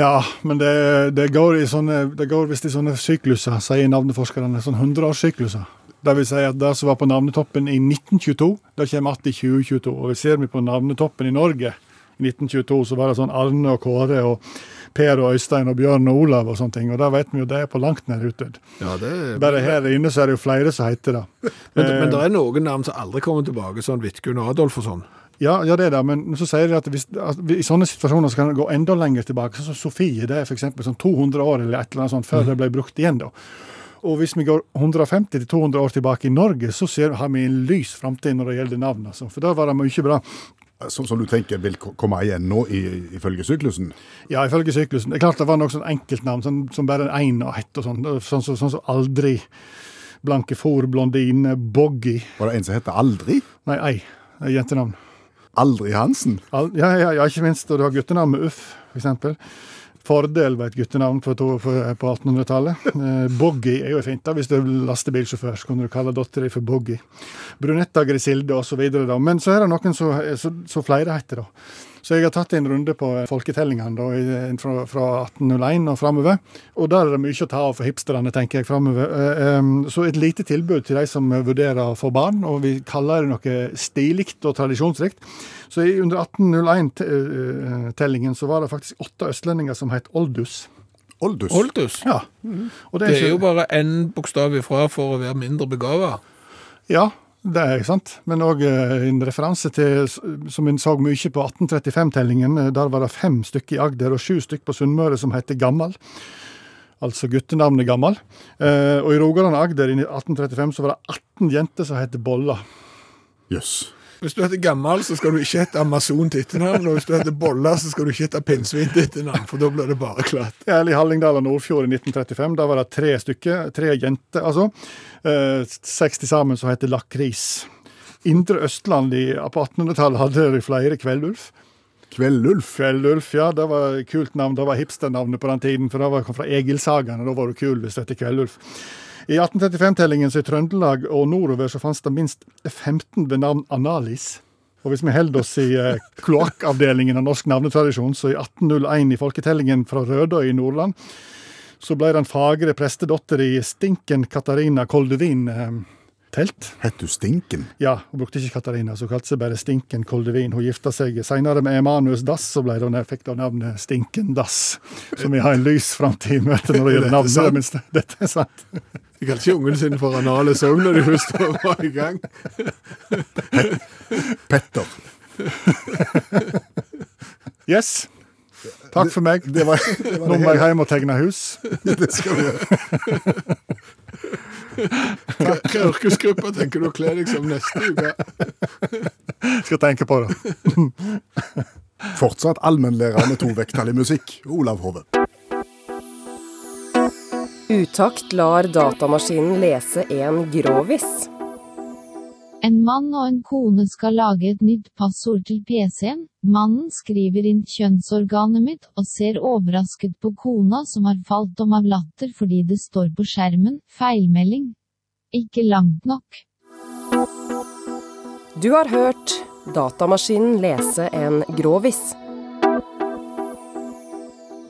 F: Ja, men det, det går, i sånne, det går visst i sånne sykluser, sier navneforskerne. Sånn 100-årssykluser. Det vil si at det som var på navnetoppen i 1922, det kommer igjen i 2022. Og vi ser vi på navnetoppen i Norge i 1922, så var det sånn Arne og Kåre og Per og Øystein og Bjørn og Olav og sånne ting. Og det vet vi jo, det er på langt nær utdødd.
B: Ja, det
F: Bare her inne så er det jo flere som heter det.
B: men, men det er noen navn som aldri kommer tilbake, sånn Vidkun og Adolf og sånn.
F: Ja, ja, det er det, men så sier de at, hvis, at vi- i sånne situasjoner så kan det gå enda lenger tilbake. Sånn som Sofie, det er f.eks. sånn 200 år eller et eller annet sånt før det ble brukt igjen. da. Og hvis vi går 150-200 år tilbake i Norge, så ser, har vi en lys framtid når det gjelder navn. Altså. For da var det mye bra.
C: Som, som Eh, du tenker vil ko- komme igjen nå, i- ifølge syklusen?
F: Ja, ifølge syklusen. Det er klart det var noen sånn enkeltnavn som, som bare én og ett og sånn. Sånn som sånn, som Aldri, Blanke for, Blondine, Boggy.
C: Var det en som heter Aldri?
F: Nei, ei. Det er Jentenavn.
C: Aldri Hansen?
F: Al- Ja, ja, ja, ikke minst. Og du har guttenavn med Uff, f.eks. Fordel var et guttenavn på, to- på på 1800-tallet. Eh, Boggy er jo fint. da, Hvis du er lastebilsjåfør, så kan du kalle dattera di for Boggy. Brunetta Grisilde osv. Men så er det noen som så, så flere heter, da. Så jeg har tatt en runde på folketellingene da, i- fra, fra 1801 og framover. Og der er det mye å ta av for hipsterne, tenker jeg framover. Eh, Så et lite tilbud til de som vurderer å få barn, og vi kaller det noe stilig og tradisjonsrikt. Så i under 1801-tellingen eh, så var det faktisk åtte østlendinger som het Oldus.
C: Oldus?
B: Oldus.
F: Ja. Og
B: Mhm. Det er jo
F: ikke-
B: bare én bokstav ifra for å være mindre begava.
F: Ja, Det er ikke sant, men òg en referanse til, s- som en så mye på 1835-tellingen, eh, der var det fem stykker i Agder og sju stykker på Sunnmøre som heter Gammal. Altså guttenavnet Gammal. Eh, og i Rogaland og Agder i 1835 så var det 18 jenter som het Bolla.
C: Jøss.
B: Hvis du heter gammel, så skal du ikke hete Amazon til etternavn. Og hvis du heter Bolla, så skal du ikke hete Pinnsvin til etternavn, for da blir det bare klatt.
F: Ja, eller I Hallingdal og Nordfjord i 1935 da var det tre stykker, tre jenter, altså. Eh, seks til sammen som heter Lakris. Indre Østland i, på 1800-tallet hadde de flere Kveldulf.
C: Kveldulf.
F: Kveldulf, ja. Det var et kult navn. Det var hipsternavnet på den tiden, for det var, kom fra Egilsagaen, og da var du kul hvis det het Kveldulf. I 1835-tellingen så i Trøndelag og nordover så fantes det minst 15 ved navn Analis. Og hvis vi holder oss i eh, kloakkavdelingen av norsk navnetradisjon, så i 1801 i folketellingen fra Rødøy i Nordland, så ble den fagre prestedotter i Stinken Katarina Koldevin eh, telt.
C: Het du Stinken?
F: Ja, hun brukte ikke Katarina, så hun kalte seg bare Stinken Koldevin. Hun gifta seg senere med Emanuus Dass, så ble hun, fikk hun navnet Stinken Dass. Så vi har en lys framtid i møte når det
B: Dette er
F: gjelder navn. i
B: sant.
F: det minste. Dette er sant.
B: De kalte ikke ungene sine for anale sogn når de først var i gang.
C: Petter.
F: Yes. Takk for meg.
C: Det var, det var
F: Nå må jeg hjem og tegne hus.
C: det, det skal vi gjøre.
B: Hvilken yrkesgruppe tenker du å kle deg som neste uke?
F: Skal tenke på det.
C: Fortsatt allmennlærer med to vekttall i musikk. Olav Hove.
I: Utakt lar datamaskinen lese en grovis.
J: En mann og en kone skal lage et nytt passord til PC-en. Mannen skriver inn kjønnsorganet mitt og ser overrasket på kona som har falt om av latter fordi det står på skjermen, feilmelding. Ikke langt nok.
I: Du har hørt datamaskinen lese en grovis.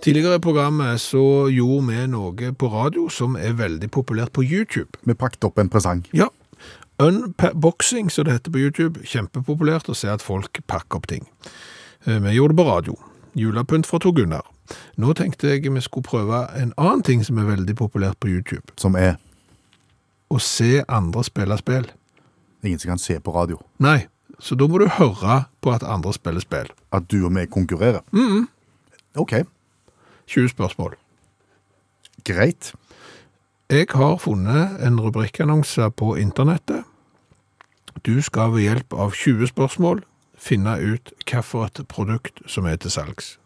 B: Tidligere i programmet så gjorde vi noe på radio som er veldig populært på YouTube.
C: Vi pakket opp en presang.
B: Ja, unboxing som det heter på YouTube, kjempepopulært å se at folk pakker opp ting. Eh, Vi gjorde det på radio. Julepynt fra Tor Gunnar. Nå tenkte jeg vi skulle prøve en annen ting som er veldig populært på YouTube.
C: Som er
B: Å se andre spille spill.
C: ingen som kan se på radio.
B: Nei, så da må du høre på at andre spiller spill.
C: At du og vi konkurrerer.
B: Mm-hmm.
C: OK,
B: 20 spørsmål.
C: greit.
B: Jeg har funnet en rubrikkannonse på internettet. Du skal ved hjelp av 20 spørsmål finne ut hvilket produkt som er til salgs.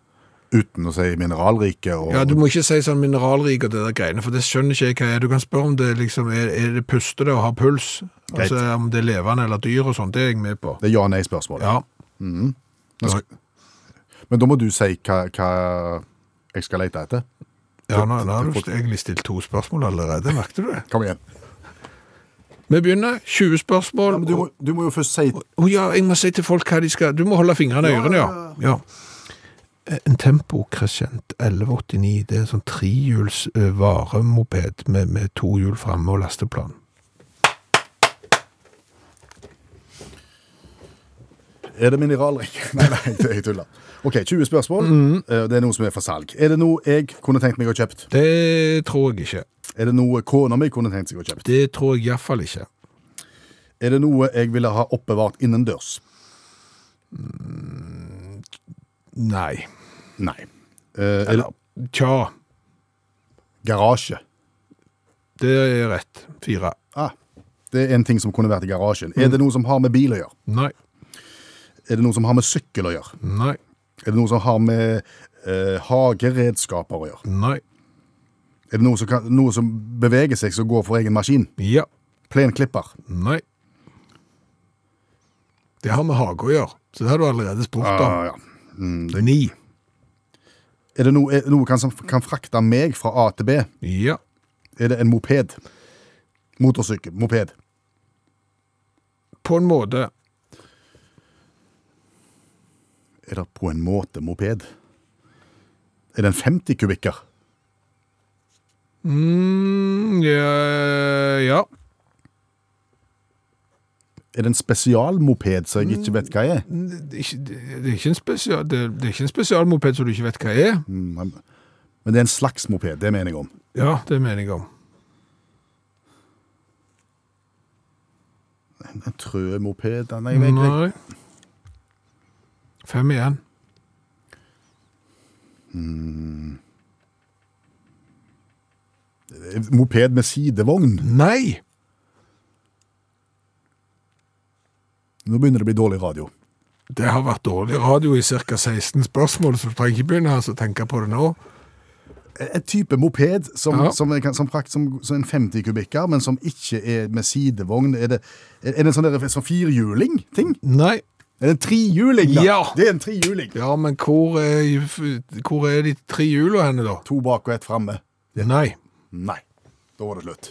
C: Uten å si mineralrike og
B: Ja, Du må ikke si sånn mineralrik og det der greiene, for det skjønner ikke jeg hva er. Du kan spørre om det liksom, er, er det pustete og har puls.
C: Greit.
B: Altså Om det er levende eller dyr og sånt. Det er jeg med på.
C: Det er ja-nei-spørsmål.
B: Ja. Mm-hmm.
C: Nå skal- Men da må du si hva, hva jeg skal lete etter.
B: ja nå, nå har du egentlig stilt to spørsmål allerede, merket du det?
C: Kom igjen.
B: Vi begynner. 20 spørsmål.
C: Ja, men du, må, du må jo først si
B: Å ja, jeg må si til folk hva de skal Du må holde fingrene i ørene, ja. ja. Eh, En Tempo Crescent 1189, det er en sånn trihjuls eh, varemoped med, med to hjul framme og lasteplan.
C: Er det mineralrike? Nei, nei, det- jeg tuller. OK, 20 spørsmål.
B: Mm-hmm.
C: Eh, Det er noe som er for salg. Er det noe jeg kunne tenkt meg å kjøpt?
B: Det tror jeg ikke.
C: Er det noe kona mi kunne tenkt seg å kjøpt?
B: Det tror jeg iallfall ikke.
C: Er det noe jeg ville ha oppbevart innendørs?
B: Nei.
C: Nei. Eh, er det
B: Eller Tja,
C: garasje?
B: det er rett. Fire.
C: Ah, det er en ting som kunne vært i garasjen. Er det noe som har med bil å gjøre?
B: Nei.
C: Er det noe som har med sykkel å gjøre?
B: Nei.
C: Er det noe som har med eh, hageredskaper å gjøre?
B: Nei.
C: Er det noe som, kan, noe som beveger seg, som går for egen maskin?
B: Ja.
C: Plenklipper.
B: Nei. Det har med hage å gjøre, så det har du allerede spurt om.
C: Ah, ja.
B: Ni.
C: Er det noe, er, noe kan, som kan frakte meg fra A til B?
B: Ja.
C: Er det en moped? Motorsykkel. Moped.
B: På en måte.
C: Er det på en måte moped? Er det en 50 kubikker?
B: Mm, ja, ja.
C: Er det en spesialmoped som jeg ikke vet hva er?
B: Det er ikke- det er ikke en spesial, det er, det er ikke en spesialmoped som du ikke vet hva er.
C: Mm, Men det er en slags moped, det mener jeg om.
B: Ja, det mener jeg om.
C: En trø moped? Nei, jeg vet ikke.
B: Nei. Fem igjen.
C: Eh, Moped med sidevogn?
B: Nei!
C: Nå begynner det å bli dårlig radio.
B: Det har vært dårlig radio i ca. 16 spørsmål, så du trenger ikke begynne altså, å tenke på det nå.
C: Et type moped som,
B: Ja.
C: som, er- som, frakt, som, som en 50 kubikker, men som ikke er med sidevogn. Er det, er det en sånn, der- sånn firhjuling-ting?
B: Nei.
C: Er det en trihjuling? da?
B: Ja.
C: Det er en trihjuling.
B: Ja, men hvor er, hvor er de tre hjula henne, da?
C: To bak og ett framme.
B: Nei.
C: Nei. Da var det slutt.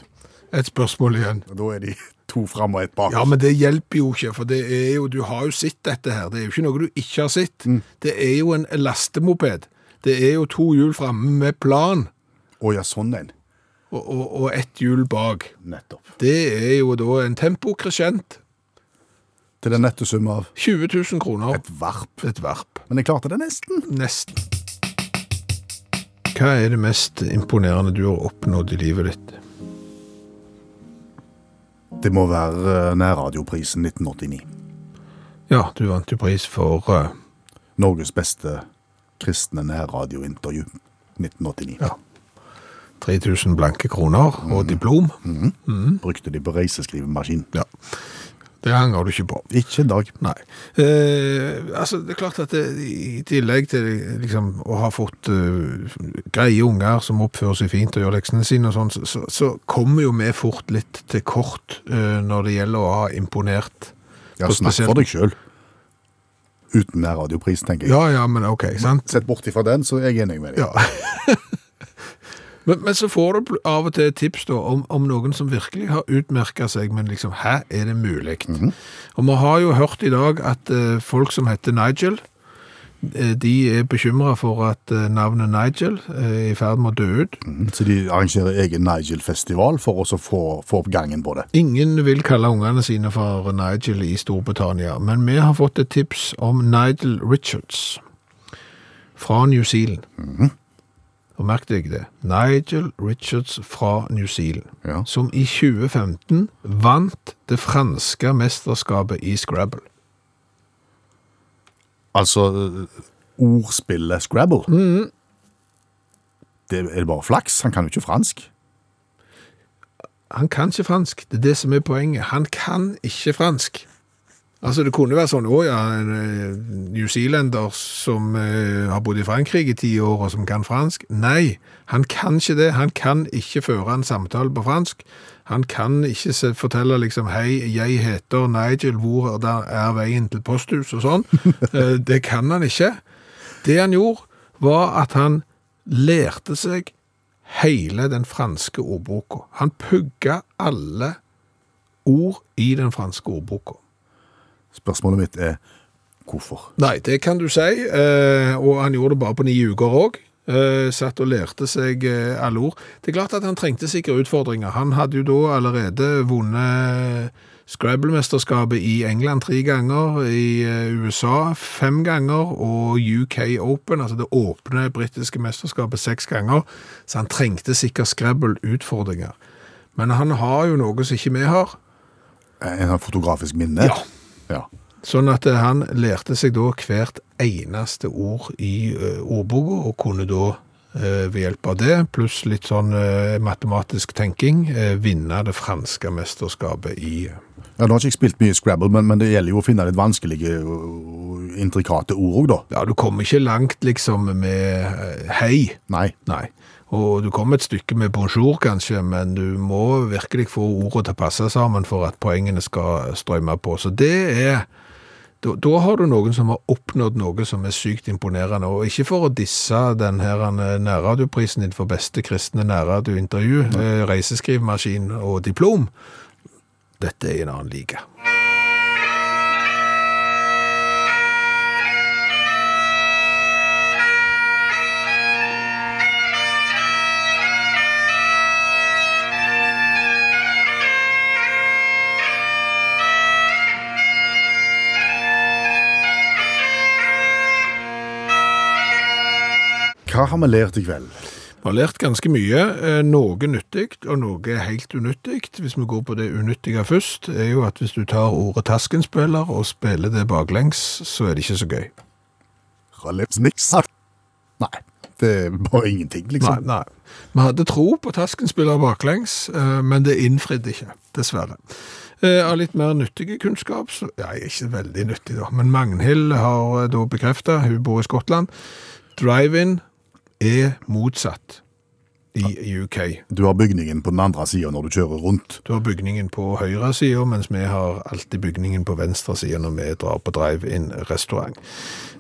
B: Et spørsmål igjen.
C: Da er de to fram og ett bak.
B: Ja, men det hjelper jo ikke, for det er jo, du har jo sett dette her. Det er jo ikke noe du ikke har sett. Det er jo en lastemoped. Det er jo to hjul framme med plan
C: Å ja, sånn en.
B: og, og, og ett hjul bak.
C: Nettopp.
B: Det er jo da en tempokresjent.
C: Til den nette sum av
B: 20 000 kroner.
C: et varp.
B: Et varp.
C: Men jeg klarte det nesten.
B: Nesten. Hva er det mest imponerende du har oppnådd i livet ditt?
C: Det må være eh, nærradioprisen 1989.
B: Ja, du vant jo pris for eh,
C: Norges beste kristne nærradiointervju 1989.
B: Ja. 3000 blanke kroner og diplom.
C: Brukte de på reiseskrivemaskin.
B: Ja. Det angrer du ikke på.
C: Ikke i dag.
B: Nei. Eh, altså, det er klart at det, i tillegg til liksom, å ha fått eh, greie unger som oppfører seg fint og gjør leksene sine og sånn, så- så, så kommer jo vi fort litt til kort eh, når det gjelder å ha imponert.
C: Ja,
B: på
C: snakk
B: spesielt-
C: for deg sjøl. Uten nærradiopris, tenker jeg.
B: Ja, ja, men ok, sant?
C: Sett bort ifra den, så er jeg enig med deg.
B: Ja. men, men så får du pl- av og til tips da, om, om noen som virkelig har utmerket seg, men liksom, hæ, er det mulig? Og vi har jo hørt i dag at eh, folk som heter Nigel, eh, de er bekymret for at eh, navnet Nigel eh, er i ferd med å dø ut.
C: Mhm. Så de arrangerer egen Nigel-festival for oss å få, få opp gangen på det.
B: Ingen vil kalle ungene sine for Nigel i Storbritannia, men vi har fått et tips om Nigel Richards fra New Zealand. Og merk deg det. Nigel Richards fra New Zealand,
C: Ja.
B: som i 2015 vant det franske mesterskapet i Scrabble.
C: Altså øh, ordspillet Scrabble.
B: Mhm.
C: Det er det bare flaks? Han kan jo ikke fransk.
B: Han kan ikke fransk, det er det som er poenget. Han kan ikke fransk. Altså, det kunne være sånn, å ja, en eh, New Zealander som eh, har bodd i Frankrike i ti år og som kan fransk. Nei, han kan ikke det. Han kan ikke føre en samtale på fransk. Han kan ikke se, fortelle liksom, hei, jeg heter Nigel, hvor er der er veien til posthus og sånn. Eh, det kan han ikke. Det han gjorde, var at han lærte seg hele den franske ordboka. Han pugga alle ord i den franske ordboka.
C: Spørsmålet mitt er hvorfor?
B: Nei, det kan du si, eh, og han gjorde det bare på ni uker òg. Satt og lærte seg eh, alle ord. Det er klart at han trengte sikre utfordringer. Han hadde jo da allerede vunnet Scrabble-mesterskapet i England tre ganger, i eh, USA fem ganger og UK Open, altså det åpne britiske mesterskapet, seks ganger. Så han trengte sikkert Scrabble-utfordringer. Men han har jo noe som ikke vi har.
C: En sånn fotografisk minne?
B: Ja.
C: Ja.
B: Sånn at eh, han lærte seg da hvert eneste ord i eh, ordboka, og kunne da eh, ved hjelp av det, pluss litt sånn eh, matematisk tenking, eh, vinne det franske mesterskapet i eh,
C: Ja, Nå har ikke jeg spilt mye Scrabble, men, men det gjelder jo å finne litt vanskelige og intrikate ord òg, da.
B: Ja, du kommer ikke langt liksom med eh, hei.
C: Nei.
B: Nei. Og du kommer et stykke med bonjour kanskje, men du må virkelig få ordet til å passe sammen for at poengene skal strømme på. Så det er da, da har du noen som har oppnådd noe som er sykt imponerende, og ikke for å disse den her eh, nærradioprisen din for beste kristne nærradiointervju, eh, reiseskrivmaskin og diplom. Dette er i en annen liga.
C: Hva har vi lært i kveld?
B: Vi har lært ganske mye. eh, Noe nyttig, og noe helt unyttig. Hvis vi går på det unyttige først, er jo at hvis du tar ordet taskenspiller og spiller det baklengs, så er det ikke så gøy.
C: Ralefsniks. Nei, det er bare ingenting,
B: Nei,
C: liksom.
B: nei. Vi hadde tro på taskenspiller baklengs, eh, men det innfridde ikke, dessverre. Eh, Av litt mer nyttige kunnskap, så, ja, jeg er ikke veldig nyttig da, men Magnhild har eh, da bekreftet, hun bor i Skottland, drive-in er motsatt i UK.
C: Du har bygningen på den andre sida når du kjører rundt.
B: Du har bygningen på høyre sida, mens vi har alltid bygningen på venstre sida når vi drar på drive-in-restaurant.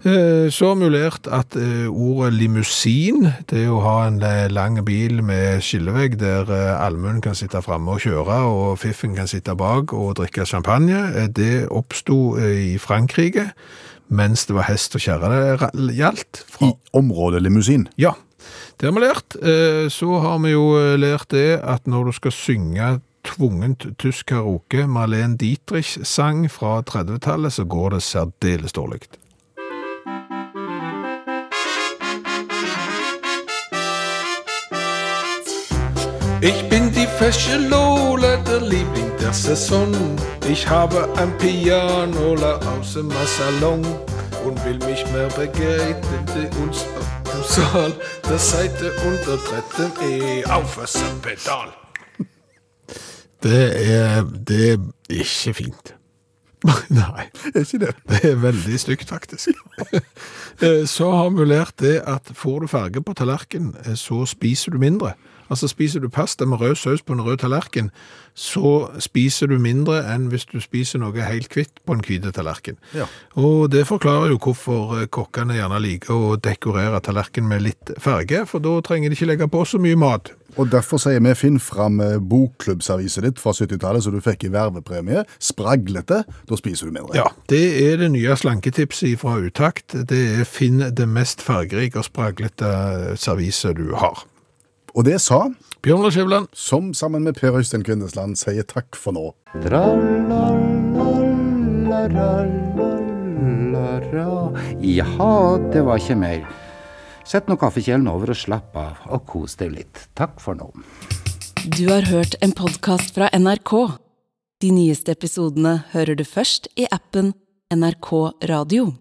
B: Eh, Så har vi jo lært at eh, ordet limousin, det er å ha en eh, lang bil med skillevegg der eh, allmuen kan sitte framme og kjøre, og fiffen kan sitte bak og drikke champagne, eh, det oppsto eh, i Frankrike mens det var hest og kjerre det ra- gjaldt.
C: I
B: Fra
C: området limousin.
B: ja, det har vi lært. Eh, Så har vi jo eh, lært det at når du skal synge tvungent tysk karaoke, Marlene Dietrich sang fra 30-tallet, så går det særdeles dårlig.
K: Ich bin die fesche Lola, der Liebling der Saison. Ich habe ein Pianola aus dem Salon und will mich mehr begleitete uns auf dem Saal, der Seite und der dritten E auf das Pedal.
B: Det er, det er ikke fint. Nei.
C: Er ikke det?
B: Det er veldig stygt, faktisk. Eh, så har vi lært det at får du farge på tallerken, eh, så spiser du mindre. Altså spiser du pasta med rød saus på en rød tallerken, så spiser du mindre enn hvis du spiser noe helt kvitt på en hvite tallerken.
C: Ja.
B: Og det forklarer jo hvorfor eh, kokkene gjerne liker å dekorere tallerken med litt farge, for da trenger de ikke legge på så mye mat.
C: Og derfor sier vi finn fram eh, bokklubbserviset ditt fra 70-tallet, så du fikk i vervepremie. Spraglete. Da spiser du mindre.
B: Ja, det er det nye slanketipset fra Utakt. Det er finn det mest fargerike og spraglete serviset du har.
C: Og det sa,
B: Bjørn Lars Skjæveland,
C: som sammen med Per Øystein Kvindesland sier takk for nå.
L: Tra-la-la-la-la-la. Jaha, det var ikke mer. Sett nå kaffekjelen over og slapp av, og kos deg litt. Takk for nå.
A: Du har hørt en podkast fra NRK. De nyeste episodene hører du først i appen NRK Radio.